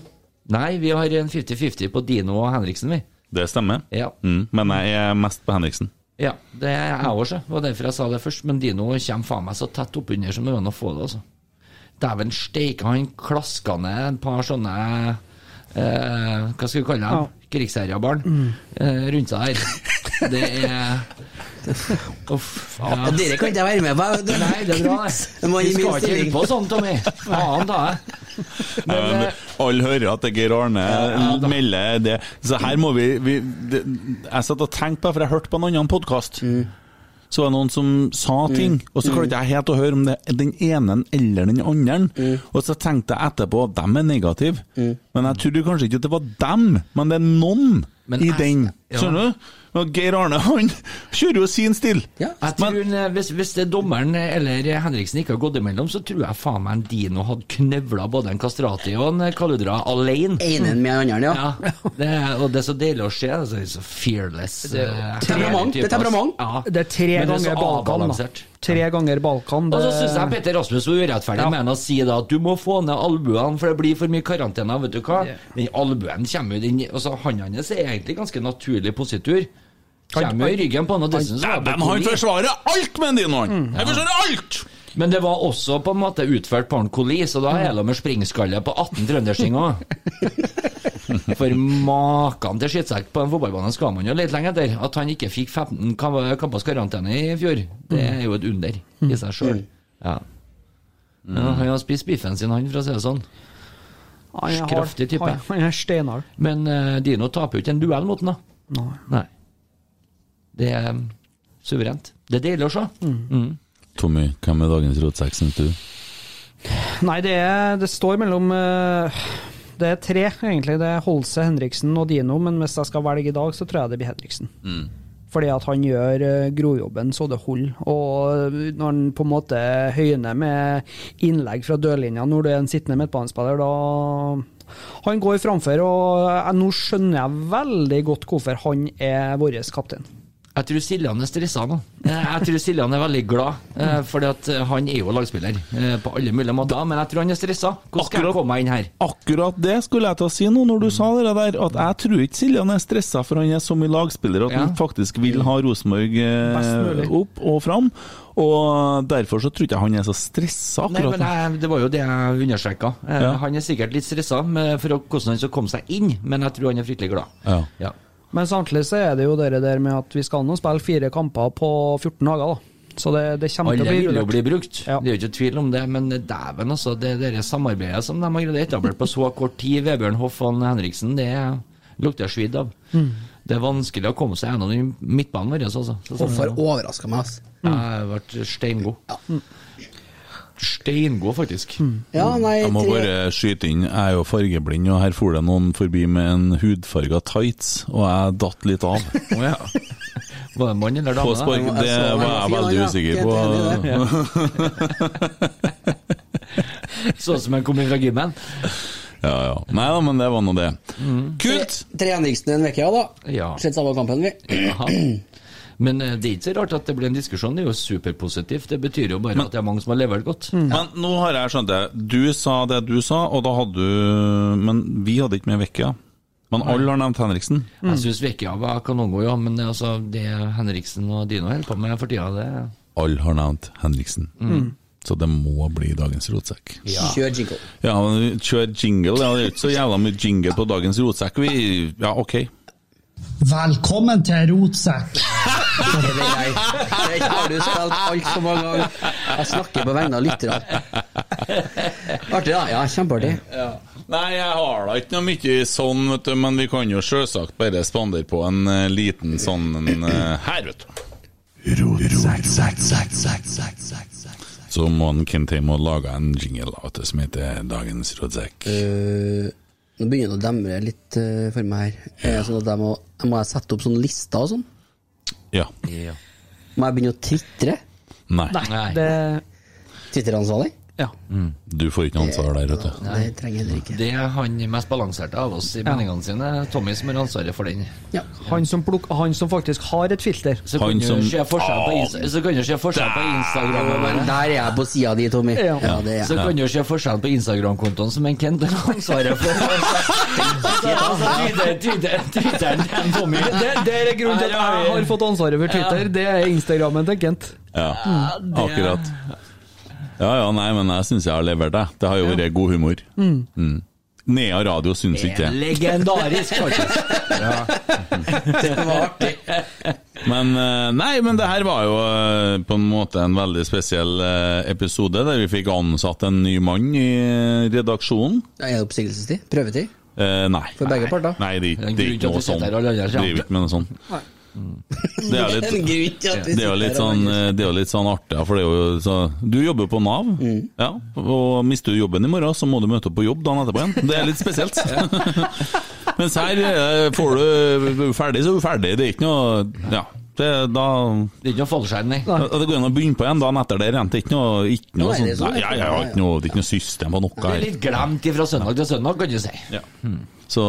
Speaker 5: Nei, vi har en 50-50 på Dino og Henriksen, vi.
Speaker 1: Det stemmer.
Speaker 5: Ja.
Speaker 1: Mm, men jeg er mest på Henriksen.
Speaker 5: ja det er jeg også, det var derfor jeg sa det først. Men Dino kommer faen meg så tett oppunder som det går an å få det, altså. Dæven steike, han klaska ned et par sånne eh, Hva skal vi kalle dem? Krigsherjabarn
Speaker 6: Mm.
Speaker 5: eh, rundt seg her. Det er Uff. Ja.
Speaker 6: Dere kan ikke jeg være med på.
Speaker 5: Nei, det er bra, det.
Speaker 6: Det må
Speaker 5: Vi
Speaker 6: gi min
Speaker 5: skal ikke
Speaker 6: stilling.
Speaker 5: holde på sånn, Tommy. Faen ta deg. Men, eh,
Speaker 1: Um, Alle hører at det er Geir Arne
Speaker 5: da.
Speaker 1: melder det. Så her må vi, vi det, Jeg satt og tenkte på det, for jeg hørte på en annen podkast.
Speaker 5: Mm.
Speaker 1: Så var det noen som sa ting, og så klarte jeg helt å høre om det er den ene eller den andre.
Speaker 5: Mm.
Speaker 1: Og så tenkte jeg etterpå at dem er negative. Men jeg trodde kanskje ikke at det var dem, men det er noen
Speaker 5: Men
Speaker 1: i
Speaker 5: jeg-
Speaker 1: den.
Speaker 5: ja.
Speaker 1: Skjønner du? Og Geir Arne han kjører jo sin stil.
Speaker 6: Ja.
Speaker 5: jeg tror, eh, hvis, hvis det er dommeren eller Henriksen ikke har gått imellom, så tror jeg faen meg en Dino hadde knøvla både en Kastrati og en eh, Kaludra alene.
Speaker 6: Enen med den andre, ja.
Speaker 5: Ja, det er, og det er så deilig å se. altså, Det er så fearless. eh,
Speaker 6: temperament,
Speaker 5: type,
Speaker 6: det er temperament.
Speaker 5: ass. Ja.
Speaker 2: det er tre
Speaker 5: Men det er så
Speaker 2: ganger Balkan, da.
Speaker 5: avbalansert.
Speaker 2: Tre ganger Balkan.
Speaker 5: Og så
Speaker 2: det-
Speaker 5: syns jeg Petter Rasmus var urettferdig med han å si da at du må få ned albuene, for det blir for mye karantene. Vet du hva? Den albuen kommer jo den altså, Han hans er egentlig ganske naturlig positur. Kommer jo i ryggen på han, og dessuten så var det
Speaker 1: Dæven, han
Speaker 5: koli.
Speaker 1: forsvarer alt med en dinoen!
Speaker 5: Mm.
Speaker 1: Han forsvarer alt!
Speaker 5: Men det var også på en måte utført på han koli, så da er det med springskalle på 18 trøndersting òg. For maken til skittsekk på en fotballbane skal man jo litt lenge etter. At han ikke fikk 15 kam- kampers karantene i fjor, det er jo et under i seg sjøl. Ja. Ja, han har spist biffen sin, han, for å si det sånn.
Speaker 2: Han er hard.
Speaker 5: Kraftig type.
Speaker 2: Han- Han er steinhard.
Speaker 5: Men eh, Dino taper jo ikke en duell mot den, da.
Speaker 2: Nei.
Speaker 5: Nei. Det er eh, suverent. Det er deilig å se.
Speaker 1: Tommy, hvem er dagens rotsekk, syns du?
Speaker 2: Nei, det, er, det står mellom eh, Det er tre, egentlig. Det er Holse, Henriksen og Dino, men hvis jeg skal velge i dag, så tror jeg det blir Henriksen.
Speaker 5: Mm.
Speaker 2: Fordi at han gjør eh, grovjobben så det holder. Og eh, når han på en måte høyner med innlegg fra dørlinja når du er en sittende midtbanespiller, da Han går eh, framfor, og jeg, nå skjønner jeg veldig godt hvorfor han er vår kaptein.
Speaker 5: Jeg tror Siljan er stressa nå. Eh, Jeg tror Siljan er veldig glad, eh, fordi at eh, han er jo lagspiller eh, på alle mulige måter. Men jeg tror han er stressa. Hvordan skal jeg
Speaker 1: Akkurat.
Speaker 5: komme meg inn her?
Speaker 1: Akkurat det skulle jeg til å si nå, når du sa det der, at jeg tror ikke Siljan er stressa, for han er så mye lagspiller at
Speaker 5: Ja.
Speaker 1: han faktisk vil ha Rosenborg eh,
Speaker 2: mulig.
Speaker 1: opp og fram. Og derfor så tror jeg ikke han er så stressa
Speaker 5: Nei,
Speaker 1: akkurat
Speaker 5: men
Speaker 1: nå.
Speaker 5: jeg, Det var jo det jeg understreka. Eh,
Speaker 1: Ja.
Speaker 5: Han er sikkert litt stressa med- for å- hvordan han skal komme seg inn, men jeg tror han er fryktelig glad.
Speaker 1: Ja.
Speaker 5: Ja.
Speaker 2: Men samtidig så er det jo det der med at vi skal nå spille fire kamper på 14 dager, da. Så det, det kommer
Speaker 5: Alle
Speaker 2: til å bli
Speaker 5: vil jo
Speaker 2: rullert.
Speaker 5: bli brukt,
Speaker 2: Ja.
Speaker 5: det er jo ikke tvil om det. Men dæven, altså. Det det der samarbeidet som de har greid å etablere på så kort tid, Vebjørn Hoff og Henriksen, det lukter jeg svidd av.
Speaker 2: Mm.
Speaker 5: Det er vanskelig å komme seg gjennom den midtbanen vår, altså. Så-
Speaker 6: Hvorfor overraska meg, altså.
Speaker 5: Jeg ble steingod. Steingod, faktisk.
Speaker 6: Ja, nei,
Speaker 1: Jeg må
Speaker 6: tre-
Speaker 1: bare skyte inn, jeg er jo fargeblind, og her for det noen forbi med en hudfarga tights, og jeg datt litt av.
Speaker 5: Å ja. Var det mann eller
Speaker 1: På
Speaker 5: dame?
Speaker 1: spark,
Speaker 5: da?
Speaker 1: det var jeg veldig usikker på.
Speaker 5: Sånn som jeg kom inn fra gymmen?
Speaker 1: Ja, ja. Nei da, men det var nå det. Kult!
Speaker 6: Tre Henriksen en uke, ja da.
Speaker 5: Ja.
Speaker 6: Sett samme kampen, vi.
Speaker 5: Jaha. Men eh, det er ikke så rart at det blir en diskusjon, det er jo superpositivt. Det betyr jo bare at det er mange som har levert godt.
Speaker 1: Men nå har jeg skjønt det. Du sa det du sa, og da hadde du Men vi hadde ikke med Vekkia. Men alle har nevnt Henriksen.
Speaker 5: Jeg syns Vekia var kanongod, ja, men altså, det Henriksen og Dino holder på med for tida, det
Speaker 1: Alle har nevnt Henriksen. Så det må bli dagens rotsekk.
Speaker 6: Kjør jingle.
Speaker 1: Ja, men kjør jingle. Ja, det er ikke så jævla mye jingle på dagens rotsekk. Vi, ja, ok.
Speaker 8: Velkommen til Rotsekk!
Speaker 6: Det vet jeg. Det har du spilt altfor mange ganger. Jeg snakker på vegne av lytterne. Artig, da. Ja, kjempeartig.
Speaker 1: Nei, jeg har da ikke noe mye sånn, vet du, men vi kan jo sjølsagt bare spandere på en eh, liten sånn en, eh, her, vet du. Så må han Kentheim ha laga en jingle da, vet du, som heter 'Dagens rådsekk'.
Speaker 6: Eh, nå begynner det å demre litt eh, for meg her. Er det sånn at jeg må, jeg må jeg sette opp sånne lister og sånn?
Speaker 1: Ja.
Speaker 5: ja.
Speaker 6: Må jeg begynne å tvitre?
Speaker 1: Nei.
Speaker 5: Nei.
Speaker 2: Det,
Speaker 6: Twitter-ansvarlig?
Speaker 2: ja.
Speaker 1: Du får ikke noe ansvar der, vet du.
Speaker 6: Det trenger jeg heller ikke.
Speaker 5: Det er han mest balanserte av oss i meningene sine, Tommy, som har ansvaret for den.
Speaker 6: Ja.
Speaker 2: Han, som pluk, han som faktisk har et filter.
Speaker 5: Så
Speaker 1: Han
Speaker 5: kan du
Speaker 1: som-
Speaker 5: se forskjell på, Insta- så kan du se forskjell på Instagram og
Speaker 6: Men
Speaker 5: bare.
Speaker 6: Der er jeg på sida di, Tommy.
Speaker 2: Ja.
Speaker 6: Ja, det er
Speaker 5: Så
Speaker 6: jeg.
Speaker 5: kan du se forskjell på Instagram-kontoen som en Kent har ansvaret for. Altså, altså, Twitter- Twitter- Twitteren til en Tommy
Speaker 2: Det, det er grunnen til at jeg har fått ansvaret for Twitter. Det er Instagrammen til Kent.
Speaker 1: Ja, akkurat. Ja ja, nei, men jeg syns jeg har levert det. Det har jo vært god humor. Mm. Nea Radio syns ikke det.
Speaker 5: Legendarisk, faktisk.
Speaker 1: Men eh, nei, men det her var jo eh, på en måte en veldig spesiell eh, episode, der vi fikk ansatt en ny mann i redaksjonen.
Speaker 6: Ja, Er det oppsigelsestid? Prøvetid?
Speaker 1: Eh, nei.
Speaker 6: For begge parter?
Speaker 1: Nei, det,
Speaker 5: Det er en
Speaker 1: det er
Speaker 5: grunn
Speaker 1: ikke
Speaker 5: til at
Speaker 1: noe
Speaker 5: du sitter
Speaker 1: sånn.
Speaker 5: her og lager
Speaker 1: Driver
Speaker 5: skjerm.
Speaker 1: ikke med noe sånn. Det er litt
Speaker 6: grunn til at vi
Speaker 1: det er jo litt sånn, eh, det er jo litt sånn artig, ja, for det er jo så, Du jobber på Nav, ja, og mister du jobben i morgen, så må du møte opp på jobb dagen etterpå igjen. Det er litt spesielt. Mens her eh, får du ferdig, så er du ferdig. Det er ikke noe Ja. Det, da,
Speaker 5: Det er ikke noe fallskjerm, nei.
Speaker 1: da- det går an å begynne på igjen dagen etter det igjen. Det er ikke noe, ikke noe
Speaker 6: Nei, det er
Speaker 1: sånt
Speaker 6: sånn,
Speaker 1: Nei, ja, ja, ikke noe, det er ikke noe system på noe
Speaker 5: Det er
Speaker 1: her.
Speaker 5: litt glemt fra søndag til søndag, kan du si.
Speaker 1: Ja. Så,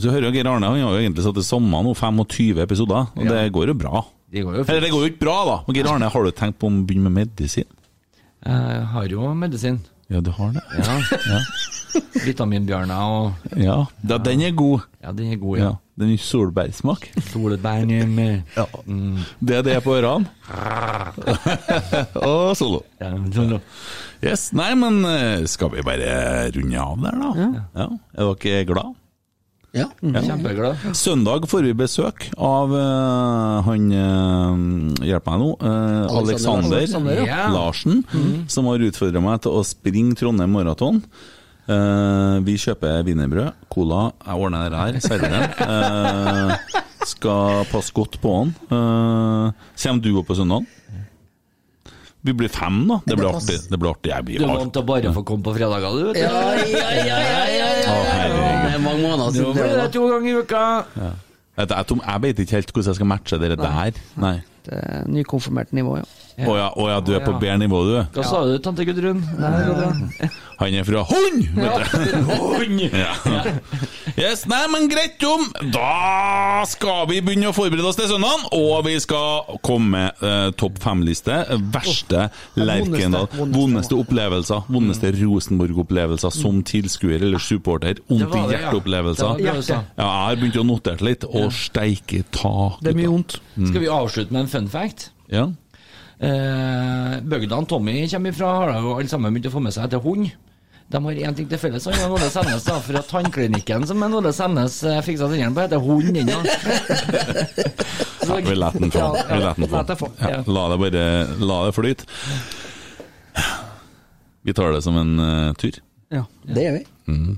Speaker 1: så hører jo Geir Arne, han har jo egentlig satt i sommer nå 25 episoder, og det går jo bra.
Speaker 5: Det går jo fint.
Speaker 1: Eller det går jo ikke bra, da. Men Geir Arne, har du tenkt på å begynne med medisin?
Speaker 5: Jeg har jo medisin.
Speaker 1: Ja, du har det.
Speaker 5: Ja. Vitaminbjørner og
Speaker 1: Ja, da, den er god.
Speaker 5: Ja, den er god, ja.
Speaker 1: Ja, den er solbærsmak.
Speaker 5: Solbær med
Speaker 1: Ja. Det er det på ørene. Og solo.
Speaker 5: ja, sånn da.
Speaker 1: Yes, Nei, men eh, skal vi bare runde av der, da? Ja. Er dere glad?
Speaker 6: Ja.
Speaker 5: Kjempeglad.
Speaker 1: Søndag får vi besøk av eh, han eh, Hjelp meg nå. eh,
Speaker 6: Alexander.
Speaker 1: Alexander,
Speaker 5: Alexander, ja.
Speaker 1: Larsen, som har utfordra meg til å springe Trondheim maraton. Eh, vi kjøper wienerbrød, cola, jeg ordner det her, serverer den. Eh, skal passe godt på han. Eh, kommer du opp på søndag? Vi blir fem, da. Det blir artig. Det blir artig. Jeg
Speaker 5: Du
Speaker 1: blir
Speaker 5: er vant
Speaker 1: artig.
Speaker 5: til å bare få komme på fredager, du. vet du.
Speaker 6: Ja, ja, ja, ja, ja, ja.
Speaker 1: Å, herregud.
Speaker 6: Det er mange måneder
Speaker 5: Nå
Speaker 6: siden. det
Speaker 5: blir det
Speaker 6: var da.
Speaker 5: to ganger i uka.
Speaker 1: Jeg, jeg, jeg vet ikke helt hvordan jeg skal matche dere der. Nei.
Speaker 2: Det er nykonfirmert nivå, ja.
Speaker 1: Å ja, å ja, du er på
Speaker 2: Å ja.
Speaker 1: bedre nivå, du.
Speaker 5: Hva sa du, tante Gudrun?
Speaker 1: Han er fra Hund! Vet du. Hund! Ja. Yes, nei, men greit om. Da skal vi begynne å forberede oss til søndagen, og vi skal komme med eh, topp fem-liste. Verste Lerkendal.
Speaker 2: vondeste, vondeste.
Speaker 1: Vondeste opplevelser. Vondeste Rosenborg-opplevelser som tilskuer eller supporter.
Speaker 5: Det
Speaker 1: Vondt i
Speaker 5: var det, ja. Det var
Speaker 1: hjertet-opplevelser.
Speaker 5: det
Speaker 1: Ja,
Speaker 5: du sa.
Speaker 1: jeg har begynt å notere litt, og steike tak.
Speaker 2: Det er mye
Speaker 1: gutta.
Speaker 2: vondt.
Speaker 5: Skal vi avslutte med en fun fact?
Speaker 1: Ja.
Speaker 5: Eh, Bøgdan Tommy kommer ifra, har da jo alle sammen begynt å få med seg etter hund. De har én ting til felles, han og Ole Sennes, da, fra tannklinikken som en Ole Sennes eh, fiksa tennene på, heter Hund ennå.
Speaker 1: Ja, vi lar den få.
Speaker 5: Ja, ja.
Speaker 1: Vi lar den
Speaker 5: La det
Speaker 1: få.
Speaker 5: få.
Speaker 1: Ja, la det bare la det flyte. Vi tar det som en eh, tur.
Speaker 2: Ja.
Speaker 6: Det gjør vi.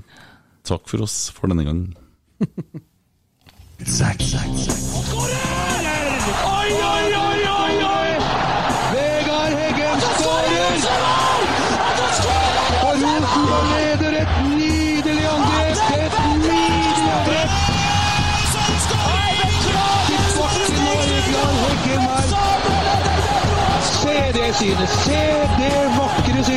Speaker 1: Takk for oss for denne gangen.
Speaker 3: Oi, oi, oi, oi, oi! Vegard Heggen skårer! Og Rosenborg leder et nydelig angrep! Et nydelig angrep! Tilbake nå, Heggen her. Se det synet! Se det vakre synet!